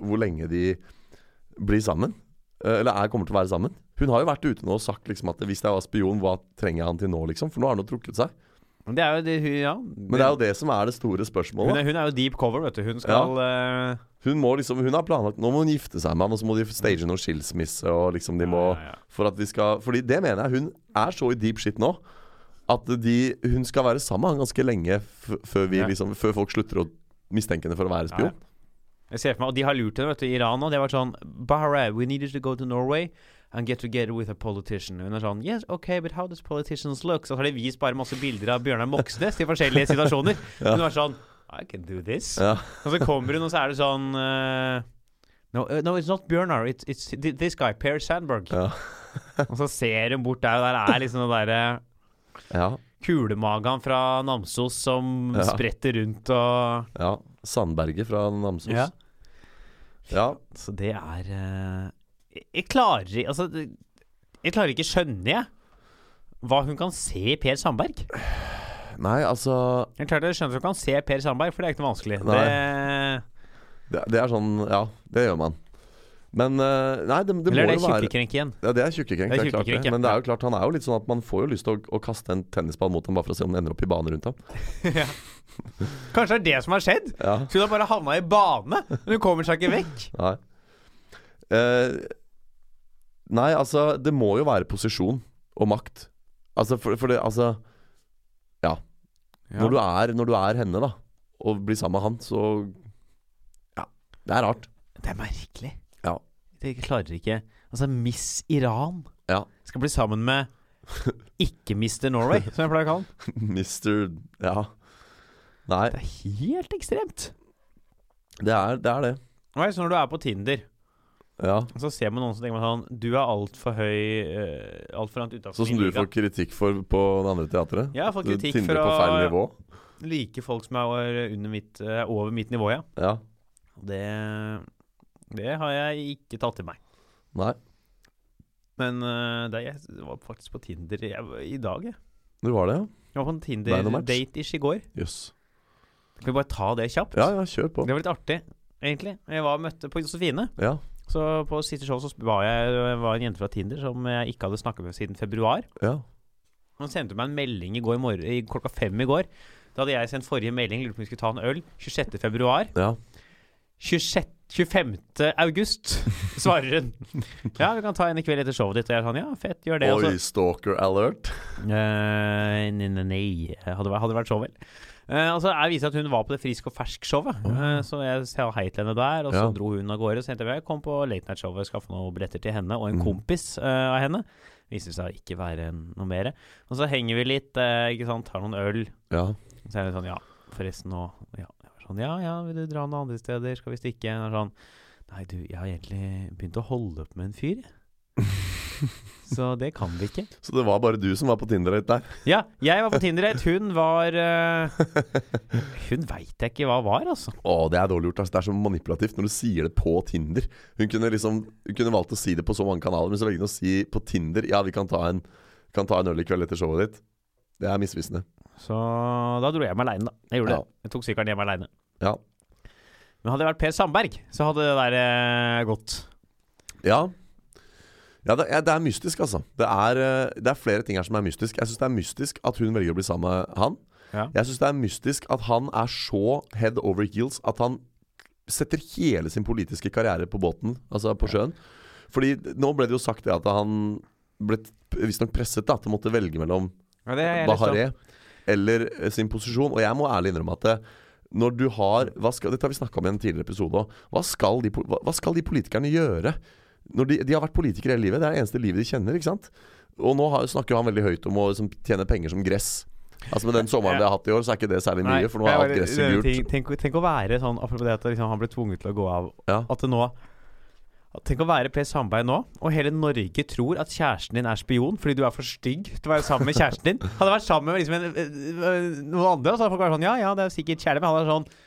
S2: hvor lenge de blir sammen. Eh, Eller er, kommer til å være sammen. Hun har jo vært ute nå og sagt liksom at hvis jeg var spion, hva trenger jeg han til nå, liksom? For nå har han jo trukket seg.
S3: Men Det er jo det, hun, ja.
S2: Men det er jo det som er det store
S3: hun,
S2: spørsmålet.
S3: er, hun er jo deep cover, vet du. Hun skal eh,
S2: Hun må liksom, hun har planlagt Nå må hun gifte seg med ham, og så må de stage noen skilsmisse. Og liksom de må,
S3: Ja, ja, ja.
S2: for at de skal, fordi det mener jeg. Hun er så i deep shit nå at de, hun skal være sammen med han ganske lenge f før, vi,
S3: Ja.
S2: liksom, før folk slutter å mistenke henne for å være spion.
S3: Ja, Jeg ser for meg, og de har lurt henne vet du, i Iran nå. De har vært sånn Bahrain, we needed to go to Norway and get together with a politician. Hun er sånn Yes, ok, but how does politicians look? Så har de vist bare masse bilder av Bjørnar Moxnes i forskjellige situasjoner. Hun er sånn I can do this.
S2: Ja.
S3: Og så kommer hun, og så er det sånn eh, No, eh, no, it's not Bjørnar. It's, it's thi- this guy, Per Sandberg.
S2: Ja.
S3: og så ser hun bort der, og der er liksom den derre
S2: Ja,
S3: kulemagen fra Namsos som
S2: Ja.
S3: spretter rundt og
S2: ja. Sandberget fra Namsos. Ja.
S3: Ja. Så det er eh, jeg, jeg klarer i- Altså, det- jeg klarer ikke skjønne, jeg, hva hun kan se i Per Sandberg.
S2: Nei, altså
S3: Jeg klarer ikke å skjønne at hun kan se Per Sandberg, for det er ikke noe vanskelig. Det,
S2: det, det er sånn Ja, det gjør man. Men eh, Nei, det, det må
S3: eller det
S2: jo
S3: er
S2: være
S3: tjukkekrink igjen.
S2: Ja, det er tjukkekrenk.
S3: Det er
S2: Det er klart
S3: tjukkekrenk, ja.
S2: det. Men det er jo klart, han er jo litt sånn at man får jo lyst til å, å kaste en tennisball mot ham bare for å se om den ender opp i bane rundt ham.
S3: Kanskje det er det som har skjedd?
S2: Ja,
S3: Skulle hun bare havna i bane? Men hun kommer seg ikke vekk.
S2: nei. Eh, nei, altså Det må jo være posisjon og makt. Altså, for, for det Altså Ja. Når, du er, når du er henne, da, og blir sammen med han, så Ja. Det er rart.
S3: Det er merkelig.
S2: Ja.
S3: Jeg klarer ikke Altså, Miss Iran
S2: Ja.
S3: skal bli sammen med ikke Mr. Norway, som jeg pleier å kalle han.
S2: Mister Ja. Nei,
S3: Det er helt ekstremt.
S2: det er det. Er det.
S3: Nei, så når du er på Tinder
S2: Ja.
S3: Og så ser man noen som tenker man sånn Du er altfor høy, uh, altfor langt utafor
S2: Sånn som du får kritikk for på det andre teatret?
S3: Ja, jeg får
S2: Du
S3: kritikk
S2: tindrer
S3: for
S2: på feil
S3: å
S2: nivå?
S3: like folk som er under mitt, eh, over mitt nivå, ja.
S2: Ja.
S3: Og Det, det har jeg ikke tatt til meg.
S2: Nei.
S3: Men eh, det, jeg var faktisk på Tinder i, i dag, jeg.
S2: Du var det,
S3: Jeg var på en
S2: Ble det noe match?
S3: Tinder-date-ish i går.
S2: ja? Jøss.
S3: Skal vi bare ta det kjapt?
S2: Ja, ja, kjør på.
S3: Det var litt artig, egentlig. Jeg var og møtte på Josefine.
S2: Ja.
S3: Så på siste show så var jeg det var en jente fra Tinder som jeg ikke hadde snakket med siden februar.
S2: Ja.
S3: Hun sendte meg en melding i går morgen, i klokka fem i går. Da hadde jeg sendt forrige melding, lurte på om vi skulle ta en øl. 26. februar.
S2: ja.
S3: 26. 25. august, svarer hun. Ja, vi kan ta en i kveld etter showet ditt. Og jeg er sånn, ja, fett, gjør det.
S2: Oi,
S3: og så-
S2: stalker alert.
S3: Eh, nei, nei, nei. Hadde, vært- hadde vært så vel. Eh, og så er det viser at hun var på det Frisk og fersk-showet. Eh, så jeg sa hei til henne der, og så
S2: Ja.
S3: dro hun av gårde. Så tenkte jeg jeg kom på Late Night-showet, skaffe noen billetter til henne og en
S2: Mm.
S3: kompis eh, av henne. Viser seg å ikke være noe mer. Og så henger vi litt, eh, ikke sant, tar noen øl.
S2: Ja.
S3: Så er det sånn, ja, forresten nå ja. Jeg var Sånn, ja, ja, vil du dra noen andre steder? Skal vi stikke? Og sånn, nei, du, jeg har egentlig begynt å holde opp med en fyr, jeg. Så det kan vi ikke.
S2: Så det var bare du som var på Tinder der?
S3: Ja, jeg var på Tinder-date. Hun var eh, Hun veit jeg ikke hva var, altså.
S2: Å, det er dårlig gjort. ass. Det er så manipulativt når du sier det på Tinder. Hun kunne liksom Hun kunne valgt å si det på så mange kanaler, men så velger hun å si på Tinder Ja, vi kan ta en, kan ta en øl i kveld etter showet ditt. Det er misvisende.
S3: Så da dro jeg hjem aleine, da. Jeg gjorde
S2: Ja.
S3: det. Jeg tok sykkelen hjem aleine.
S2: Ja.
S3: Men hadde jeg vært Per Sandberg, så hadde det der eh, gått.
S2: Ja. ja det, er, det er mystisk, altså. Det er, eh, det er flere ting her som er mystisk. Jeg syns det er mystisk at hun velger å bli sammen med han.
S3: Ja.
S2: Jeg syns det er mystisk at han er så head over heels at han setter hele sin politiske karriere på båten, altså på sjøen. Fordi nå ble det jo sagt det at han ble visstnok presset da, til å måtte velge mellom
S3: Ja, det er jeg litt sånn.
S2: Bahareh eller eh, sin posisjon. Og jeg må ærlig innrømme at det, når du har hva skal, Dette har vi snakka om i en tidligere episode òg. Hva, skal de po- hva hva skal de politikerne gjøre? Når de, de har vært politikere hele livet. Det er det eneste livet de kjenner. ikke sant? Og nå har, snakker jo han veldig høyt om å liksom, tjene penger som gress. Altså Med den sommeren vi har hatt i år, så er ikke det særlig mye. for nå
S3: jeg
S2: er
S3: bare-
S2: alt gresset gult.
S3: Tenk, tenk, tenk å være sånn Apropos det at liksom, han ble tvunget til å gå av.
S2: Ja.
S3: At det nå at Tenk å være Per Sandberg nå, og hele Norge tror at kjæresten din er spion fordi du er for stygg til å være sammen med kjæresten din. Hadde jeg vært sammen med liksom en, øh, øh, noen andre, så hadde folk vært sånn Ja, ja, det er sikkert kjærlighet, men han er sånn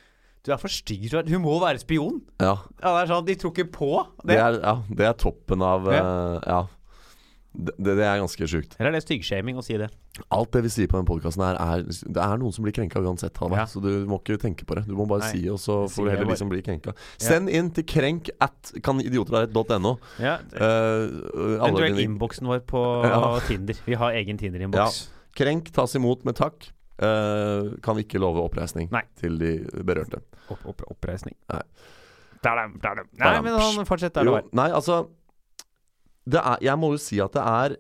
S3: Du er for stygg til å være Hun må være spion.
S2: Ja.
S3: Han er sånn De tror ikke på
S2: Det,
S3: det.
S2: er, ja, det er toppen av eh, Ja. Det, det det er ganske sjukt.
S3: Eller er det styggshaming å si det?
S2: Alt det vi sier på den podkasten her, er Det er noen som blir krenka uansett, Halvard.
S3: Ja.
S2: Så du må ikke tenke på det. Du må bare
S3: Nei.
S2: si, og så
S3: sier
S2: får du
S3: jeg
S2: heller
S3: bare.
S2: de som blir krenka. Send inn til krenk at kanidioterarett.no.
S3: Ja.
S2: Eh, alle
S3: Eventuelt
S2: dine-
S3: innboksen vår på
S2: Ja.
S3: Tinder. Vi har egen Tinder-innboks.
S2: Krenk tas imot med takk. Eh, kan ikke love oppreisning
S3: Nei.
S2: til de berørte.
S3: Opp, opp, oppreisning.
S2: Nei.
S3: Da-dam, da-dam. Nei, men han fortsett der det
S2: Jo,
S3: var.
S2: nei, altså det er, Jeg må jo si at det er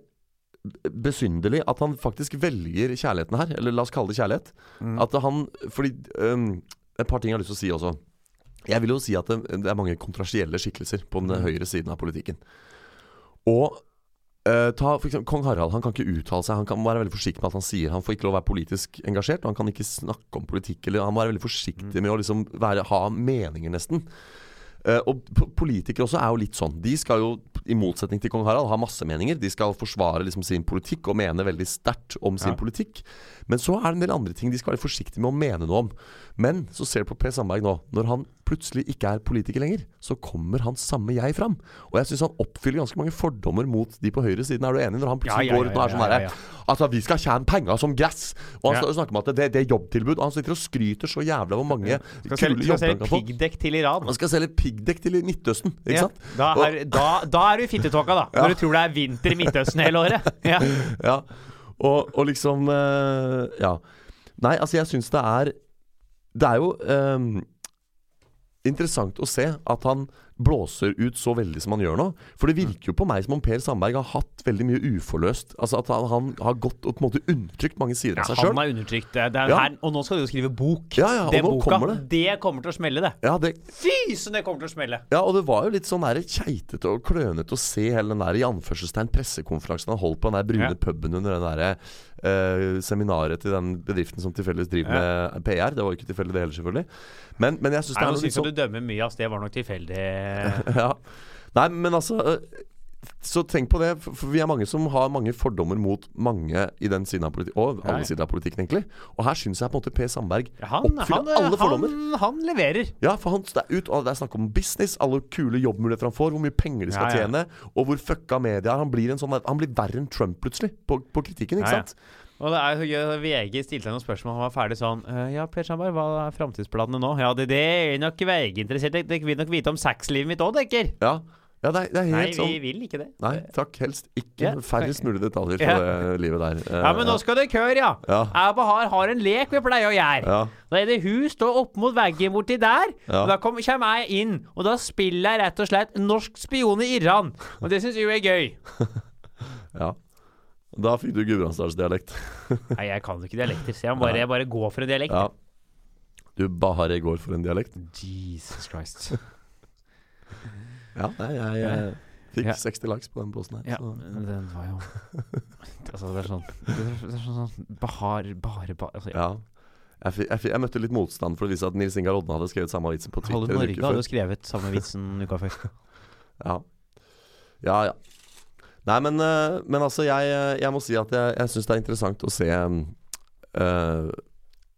S2: besynderlig at han faktisk velger kjærligheten her. Eller la oss kalle det kjærlighet.
S3: Mm.
S2: At han Fordi øhm, Et par ting jeg har lyst til å si også. Jeg vil jo si at det, det er mange kontrasielle skikkelser på den
S3: Mhm.
S2: høyre siden av politikken. Og eh, ta for eksempel, Kong Harald han kan ikke uttale seg. Han kan må være veldig forsiktig med at han sier Han får ikke lov å være politisk engasjert, og han kan ikke snakke om politikk. Eller Han må være veldig forsiktig
S3: Mm.
S2: med å liksom være, ha meninger, nesten. Eh, og p- politikere også er jo litt sånn. De skal jo, i motsetning til kong Harald, ha masse meninger. De skal forsvare liksom sin politikk og mene veldig sterkt om sin
S3: Ja.
S2: politikk. Men så er det en del andre ting de skal være forsiktige med å mene noe om. Men så ser du på Per Sandberg nå. Når han plutselig ikke er politiker lenger, så kommer han samme jeg fram. Og jeg syns han oppfyller ganske mange fordommer mot de på høyresiden. Er du enig? Når han plutselig
S3: Ja, ja,
S2: går ut og er
S3: ja,
S2: sånn
S3: ja,
S2: herre
S3: ja,
S2: Altså, vi skal tjene penger som gress! Og han
S3: Ja.
S2: står og snakker om at det, det er jobbtilbud. Og han sitter og skryter så jævla hvor mange
S3: Skal selge,
S2: kule
S3: skal
S2: jobber han
S3: selge
S2: kan få.
S3: piggdekk til Iran.
S2: Han skal selge piggdekk til Midtøsten, ikke
S3: Ja,
S2: sant?
S3: Da er, da, da er du i fittetåka, da. Når du tror det er vinter i Midtøsten hele året. Ja.
S2: Ja. Og, og liksom eh, Ja. Nei, altså, jeg syns det er Det er jo eh, interessant å se at han blåser ut så veldig som han gjør nå. For det virker jo på meg som om Per Sandberg har hatt veldig mye uforløst. Altså at han, han har gått og på en måte undertrykt mange sider
S3: Ja,
S2: av seg sjøl.
S3: han er undertrykt. Det er
S2: Ja.
S3: her, og nå skal du jo skrive bok.
S2: Ja, ja, og
S3: det
S2: nå
S3: boka,
S2: kommer det.
S3: kommer til å smelle, det.
S2: Ja, det,
S3: Fy som det kommer til å smelle!
S2: Ja, og det var jo litt sånn der keitete og klønete å se hele den der i anførselstegn pressekonferansen han holdt på den der brune
S3: Ja.
S2: puben under den der eh, seminaret til den bedriften som tilfeldigvis driver med PR. Det var jo ikke tilfeldig det heller, selvfølgelig. Men, men jeg syns det
S3: Nei,
S2: er
S3: Nå
S2: noe litt
S3: syns jeg
S2: sånn
S3: du dømmer mye, ass. Det var nok tilfeldig.
S2: ja. Nei, men altså øh, Så tenk på det. For for vi er mange som har mange fordommer mot mange i den siden av politikken. Og
S3: Ja, ja.
S2: alle sider av politikken, egentlig. Og her syns jeg på en måte Per Sandberg
S3: Han, han,
S2: oppfyller alle fordommer.
S3: Han, han leverer.
S2: Ja, for han, det, er ut, og det er snakk om business, alle kule jobbmuligheter han får, hvor mye penger de
S3: Ja,
S2: skal
S3: ja.
S2: tjene, og hvor fucka media er. Han blir, en sånn, han blir verre enn Trump plutselig, på, på kritikken, ikke
S3: Ja, ja.
S2: sant?
S3: Og det er så gøy, VG stilte deg noen spørsmål, han var ferdig sånn «Eh, Ja, Per Sandberg, hva er framtidsplanene nå? Ja, det, det er nok VG interessert i. Dere vil nok vite om sexlivet mitt òg, dekker.
S2: Ja, ja det, er, det er
S3: Nei,
S2: helt
S3: vi
S2: sånn
S3: vil ikke det.
S2: Nei, takk. Helst ikke.
S3: Ja,
S2: Færrest mulig detaljer fra
S3: Ja.
S2: det livet der. Eh,
S3: Ja, men nå skal det kør, ja.
S2: Ja.
S3: Jeg bare har, har en lek vi pleier å gjøre.
S2: ja.
S3: Da er det hun står opp mot veggen borti der,
S2: Ja.
S3: og da kom, kommer jeg inn. Og da spiller jeg rett og slett norsk spion i Iran. Og det syns hun er gøy.
S2: Ja. Da fikk du gudbrandsdalsdialekt.
S3: Nei, jeg kan jo ikke dialekter, så jeg må bare, jeg bare går for en dialekt.
S2: Ja. Du bare går for en dialekt.
S3: Jesus Christ.
S2: Ja, nei, jeg, eh, fikk
S3: Ja.
S2: 60 likes på den posten her.
S3: Ja,
S2: Så.
S3: men den var jo Altså, det er sånn Det er, det er sånn, sånn Bahar, bare, bare altså, ja.
S2: Ja. Jeg, fi- jeg, fi- jeg møtte litt motstand for å vise at Nils Ingar Odden hadde skrevet samme vitsen på
S3: Halve
S2: Twitter. en
S3: Norge
S2: uke før.
S3: hadde jo skrevet samme vitsen uka før.
S2: Ja. Ja, ja. Nei, men, eh, men altså, jeg, jeg må si at jeg, jeg syns det er interessant å se eh,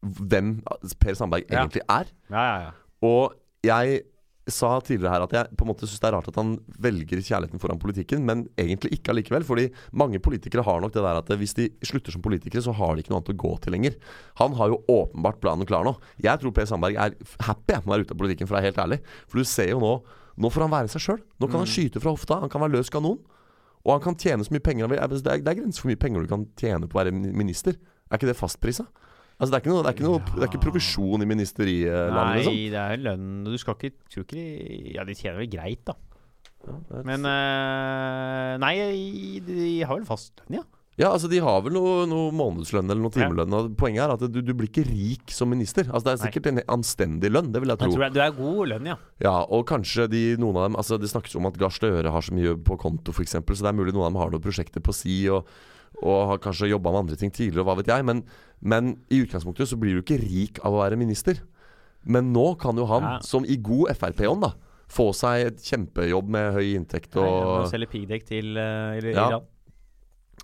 S2: hvem Per Sandberg
S3: Ja.
S2: egentlig er.
S3: Ja, ja, ja.
S2: Og jeg sa tidligere her at jeg på en måte syns det er rart at han velger kjærligheten foran politikken, men egentlig ikke allikevel. Fordi mange politikere har nok det der at hvis de slutter som politikere, så har de ikke noe annet å gå til lenger. Han har jo åpenbart planen klar nå. Jeg tror Per Sandberg er f- happy med å være ute av politikken, for å være helt ærlig. For du ser jo nå Nå får han være seg sjøl. Nå kan han skyte fra hofta. Han kan være løs kanon. Og han kan tjene så mye penger han vil. Det er, det er grenser for hvor mye penger du kan tjene på å være min- minister. Er ikke det fastprisa? Altså, det, er ikke noe, det, er ikke noe, det er ikke provisjon i ministerilandet,
S3: Nei,
S2: liksom.
S3: det er lønn Du skal ikke Tror ikke de Ja, de tjener vel greit, da. Men
S2: Men,
S3: eh, Nei, de, de har vel fast lønn, ja.
S2: ja, altså De har vel noe, noe månedslønn eller noe
S3: Ja.
S2: timelønn. og Poenget er at du, du blir ikke rik som minister. Altså Det er
S3: Nei.
S2: sikkert en anstendig lønn, det vil jeg
S3: Jeg
S2: tro.
S3: tror det er- det er god lønn, ja.
S2: Ja, Og kanskje de, noen av dem Altså Det snakkes om at Gahr Støre har så mye på konto, f.eks., så det er mulig noen av dem har noen prosjekter på si og, og har kanskje jobba med andre ting tidligere, og hva vet jeg. Men, men i utgangspunktet så blir du ikke rik av å være minister. Men nå kan jo han,
S3: Ja.
S2: som i god Frp-ånd, da få seg et kjempejobb med høy inntekt
S3: Nei, Han
S2: og
S3: selger piggdekk til eh, i- i
S2: Ja.
S3: Iran.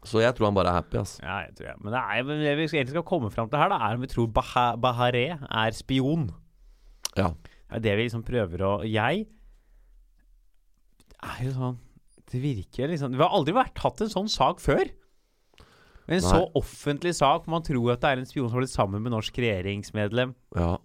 S2: Så jeg tror han bare er happy, altså.
S3: Ja, jeg tror jeg. Men det, er, men det vi skal- egentlig skal komme fram til her, da, er om vi tror Baha- Bahareh er spion.
S2: Ja.
S3: Det er det vi liksom prøver å Jeg er jo sånn Det virker liksom Vi har aldri vært hatt en sånn sak før. En
S2: Nei.
S3: så offentlig sak. Man tror at det er en spion som har blitt sammen med norsk regjeringsmedlem.
S2: Ja.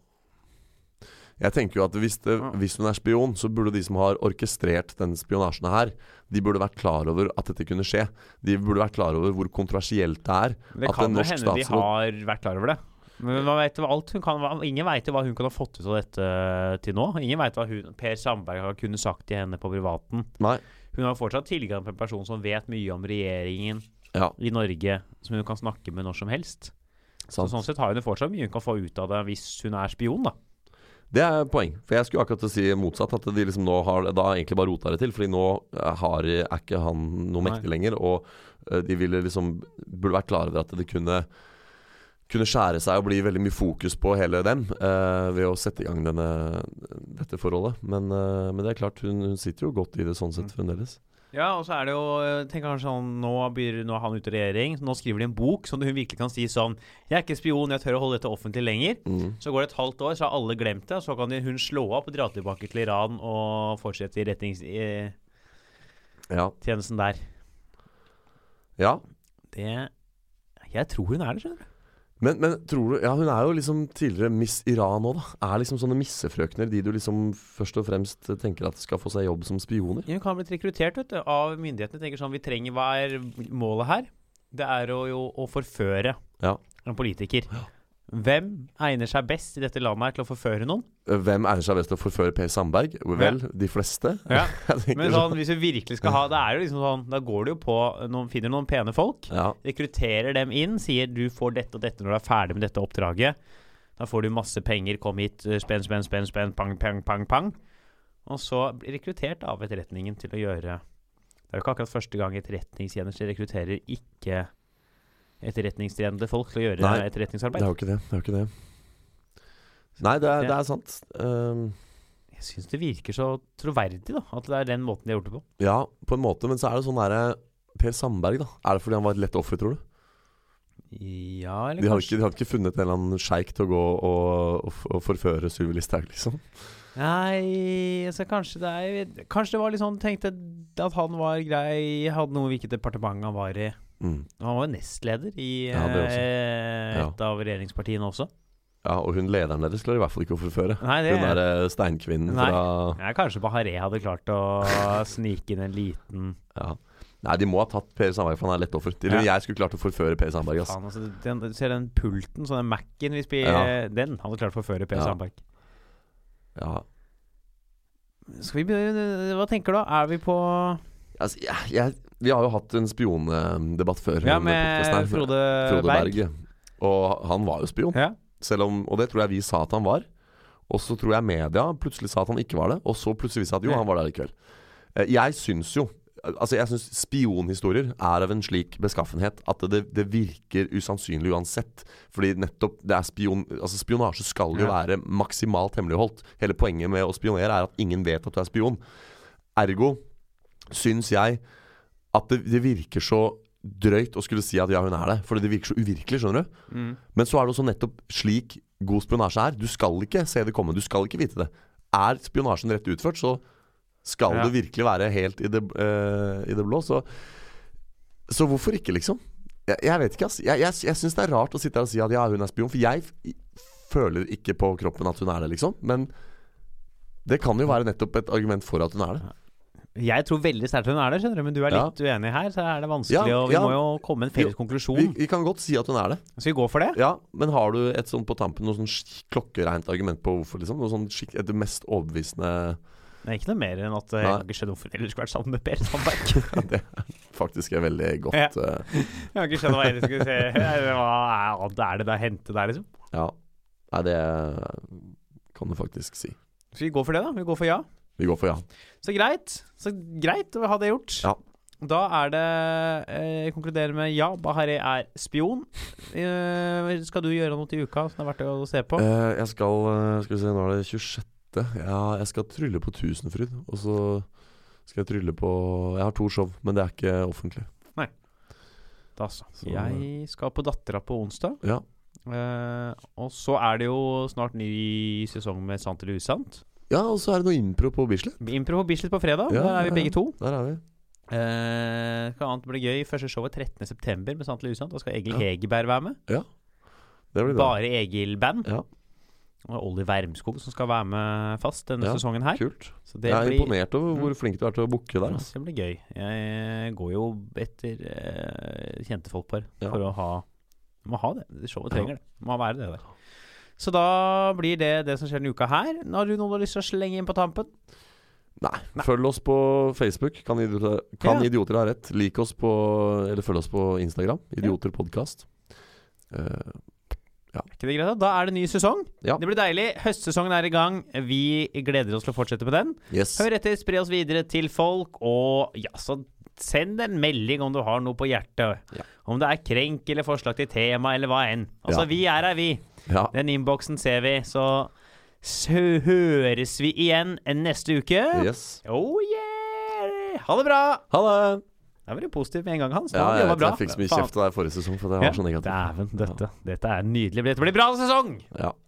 S2: Jeg tenker jo at hvis, det,
S3: Ja.
S2: hvis hun er spion, så burde de som har orkestrert denne spionasjen her, de burde vært klar over at dette kunne skje. De burde vært klar over hvor kontroversielt det er.
S3: Det
S2: At
S3: kan
S2: en
S3: jo
S2: norsk
S3: hende de
S2: statsråd-
S3: har vært klar over det. Men man vet hva alt hun kan, hva- ingen veit hva hun kan ha fått ut av dette eh, til nå. Ingen veit hva hun, Per Sandberg har kunnet sagt til henne på privaten.
S2: Nei.
S3: Hun har fortsatt tilgang på en person som vet mye om regjeringen
S2: Ja,
S3: i Norge, som hun kan snakke med når som helst. Så
S2: sant.
S3: sånn sett har hun det fortsatt mye hun kan få ut av det hvis hun er spion, da.
S2: Det er poeng. For jeg skulle akkurat til å si motsatt. At de liksom nå har da egentlig bare rota det til. Fordi nå eh, har, er ikke han noe
S3: Nei.
S2: mektig lenger. Og eh, de ville liksom burde vært klar over at det kunne kunne skjære seg og bli veldig mye fokus på hele dem eh, ved å sette i gang denne, dette forholdet. Men, eh, men det er klart, hun, hun sitter jo godt i det sånn sett fremdeles.
S3: Ja, og så er det jo eh, Tenk kanskje sånn Nå, blir, nå er han ute i regjering, så nå skriver de en bok som hun virkelig kan si sånn Jeg er ikke spion, jeg tør å holde dette offentlig lenger.
S2: Mm.
S3: Så går det et halvt år, så har alle glemt det, og så kan de, hun slå opp og dra tilbake til Iran og fortsette i retningstjenesten
S2: Ja.
S3: der.
S2: ja.
S3: Det Jeg tror hun er det, skjønner du.
S2: Men, men tror du Ja, hun er jo liksom tidligere Miss Iran òg, da. Er liksom sånne missefrøkner de du liksom først og fremst tenker at skal få seg jobb som spioner?
S3: Hun kan ha blitt rekruttert vet du, av myndighetene. tenker sånn, vi trenger, Hva er målet her? Det er å, jo, å forføre
S2: Ja.
S3: en politiker. Hvem egner seg best i dette landet her til å forføre noen?
S2: Hvem egner seg best til å forføre Per Sandberg? Vel, de fleste.
S3: Ja.
S2: Jeg tenker
S3: Men
S2: sånn.
S3: sånn, hvis du virkelig skal ha det er jo liksom sånn, Da går du jo på noen, Finner noen pene folk,
S2: Ja,
S3: rekrutterer dem inn, sier du får dette og dette når du er ferdig med dette oppdraget. Da får du masse penger, kom hit, eh, spenn, spenn, spenn, spenn, pang, pang, pang, pang. Og så blir rekruttert av etterretningen til å gjøre Det er jo ikke akkurat første gang etterretningstjenester rekrutterer ikke etterretningstjenende folk til å gjøre
S2: Nei, det
S3: etterretningsarbeid.
S2: det er jo ikke det. det, er jo ikke det. Nei, det er, det er sant. Um,
S3: Jeg syns det virker så troverdig, da. At det er den måten de har gjort det på.
S2: Ja, på en måte, men så er det sånn derre Per Sandberg, da. Er det fordi han var et lett offer, tror du?
S3: Ja, eller
S2: De har
S3: kanskje
S2: ikke, de har ikke funnet en eller annen sjeik til å gå og, og, f- og forføre Sylvi Listhaug, liksom?
S3: Nei, altså kanskje det er Kanskje det var litt sånn Tenkte at han var grei, hadde noe hvilket departement han var i.
S2: Mm.
S3: Han var jo nestleder i
S2: Ja, det også.
S3: eh,
S2: Ja.
S3: et av regjeringspartiene også.
S2: Ja, og hun lederen deres klarer i hvert fall ikke å forføre.
S3: Nei, det
S2: Hun eh, derre steinkvinnen
S3: Nei.
S2: fra
S3: ja, Kanskje Bahareh hadde klart å snike inn en liten
S2: ja. Nei, de må ha tatt Per Sandberg, for han er lett offer. Til og med jeg skulle klart å forføre Per Sandberg, ass.
S3: Faen, altså, den, du ser den pulten, så den Mac-en vi spiller,
S2: Ja.
S3: den hadde klart å forføre Per
S2: Ja.
S3: Sandberg.
S2: Ja.
S3: Skal vi begynne Hva tenker du, da? Er vi på
S2: Altså, jeg, jeg, vi har jo hatt en spiondebatt før.
S3: Ja,
S2: denne podcasten her,
S3: med Frode,
S2: Frode
S3: Berg.
S2: Berg. Og han var jo spion,
S3: Ja.
S2: selv om, og det tror jeg vi sa at han var. Og så tror jeg media plutselig sa at han ikke var det, og så plutselig sa at jo,
S3: Ja.
S2: han var der i kveld. Eh, Jeg syns jo Altså jeg synes Spionhistorier er av en slik beskaffenhet at det, det virker usannsynlig uansett. Fordi nettopp det er spion, altså Spionasje skal jo
S3: Ja.
S2: være maksimalt hemmeligholdt. Hele poenget med å spionere er at ingen vet at du er spion. Ergo syns jeg at det, det virker så drøyt å skulle si at ja, hun er det. Fordi det virker så uvirkelig, skjønner du.
S3: Mm.
S2: Men så er det også nettopp slik god spionasje er. Du skal ikke se det komme, du skal ikke vite det. Er spionasjen rett utført, så skal
S3: Ja.
S2: det virkelig være helt i det, eh, i det blå. Så, så hvorfor ikke, liksom? Jeg, jeg vet ikke, ass. Jeg, jeg, jeg syns det er rart å sitte her og si at ja, hun er spion, for jeg f føler ikke på kroppen at hun er det, liksom. Men det kan jo være nettopp et argument for at hun er det.
S3: Jeg tror veldig sterkt hun er der, skjønner du, men du er
S2: Ja.
S3: litt uenig her. Så er det vanskelig,
S2: Ja,
S3: og vi
S2: ja.
S3: må jo komme med en felles
S2: Vi,
S3: konklusjon.
S2: vi kan godt si at hun er det.
S3: Skal vi gå for det?
S2: Ja, men har du et sånn på tampen noe sånn sk- klokkereint argument på hvorfor, liksom? Noe sånn skikk, et mest overbevisende
S3: Det er ikke noe mer enn at eh,
S2: Nei.
S3: jeg har ikke skjønt hvorfor jeg ellers skulle vært sammen med Per Sandberg.
S2: Ja, det er faktisk er veldig godt eh,
S3: jeg har ikke skjønt hva jeg ellers skulle se. Hva er- hva er det det er hentet der, liksom?
S2: Ja. Nei, det kan du faktisk si.
S3: Skal vi gå for det, da? Vi går for ja.
S2: Vi går for ja.
S3: Så greit. Så greit å ha det gjort.
S2: Ja.
S3: Da er det eh, Jeg konkluderer med ja, Bahareh er spion. Eh, skal du gjøre noe til uka som det er verdt å se på?
S2: Eh, jeg skal eh, Skal vi se, nå er det 26. Ja, jeg skal trylle på Tusenfryd. Og så skal jeg trylle på Jeg har to show, men det er ikke offentlig.
S3: Da så.
S2: så-
S3: Jeg skal på Dattera på onsdag.
S2: Ja.
S3: Eh, og så er det jo snart ny sesong med Sant eller usant.
S2: Ja, og så er det noe impro på Bislett.
S3: Impro på Bislett på fredag.
S2: Ja,
S3: der er vi
S2: ja, ja.
S3: begge to.
S2: Der er vi.
S3: Eh, hva annet blir gøy? Første show er 13.9. med Sant eller usant. Da skal Egil
S2: Ja.
S3: Hegerberg være med.
S2: Det blir bra.
S3: Bare Egil-band.
S2: Ja.
S3: Og Olli Wermskog som skal være med fast denne
S2: Ja,
S3: sesongen her.
S2: Kult.
S3: Så det
S2: jeg er
S3: blir Mm.
S2: imponert over hvor flink du er til å booke der. Altså.
S3: Det blir gøy. Jeg går jo etter eh, kjente folk par
S2: Ja.
S3: for å ha Må ha det. Det Showet
S2: Ja.
S3: trenger det. Må være det der. Så da blir det det som skjer denne uka her. Nå har du noen du har lyst til å slenge inn på tampen?
S2: Nei. Følg oss på Facebook. Kan idioter, kan
S3: Ja.
S2: idioter ha rett? Lik oss på Eller følg oss på Instagram. Idioter podcast. Eh,
S3: Er ikke det greit? Da Da er det ny sesong.
S2: Ja.
S3: Det blir deilig. Høstsesongen er i gang. Vi gleder oss til å fortsette med den.
S2: yes.
S3: Hør etter, spre oss videre til folk, og ja, så send en melding om du har noe på hjertet.
S2: Ja.
S3: Om det er krenk eller forslag til tema eller hva enn. Altså,
S2: Ja.
S3: vi er her, vi.
S2: Ja.
S3: Den innboksen ser vi, så s- høres vi igjen neste uke.
S2: yes.
S3: Oh yeah! Ha det bra!
S2: Ha det!
S3: Da var du positiv med en gang, Hans.
S2: Ja,
S3: Ja,
S2: jeg,
S3: det var
S2: vet,
S3: bra.
S2: jeg fikk så mye kjeft av deg forrige sesong for sånn at
S3: Ja.
S2: jeg var så negativ.
S3: Dæven, dette, dette er nydelig. Dette blir bra sesong!
S2: Ja.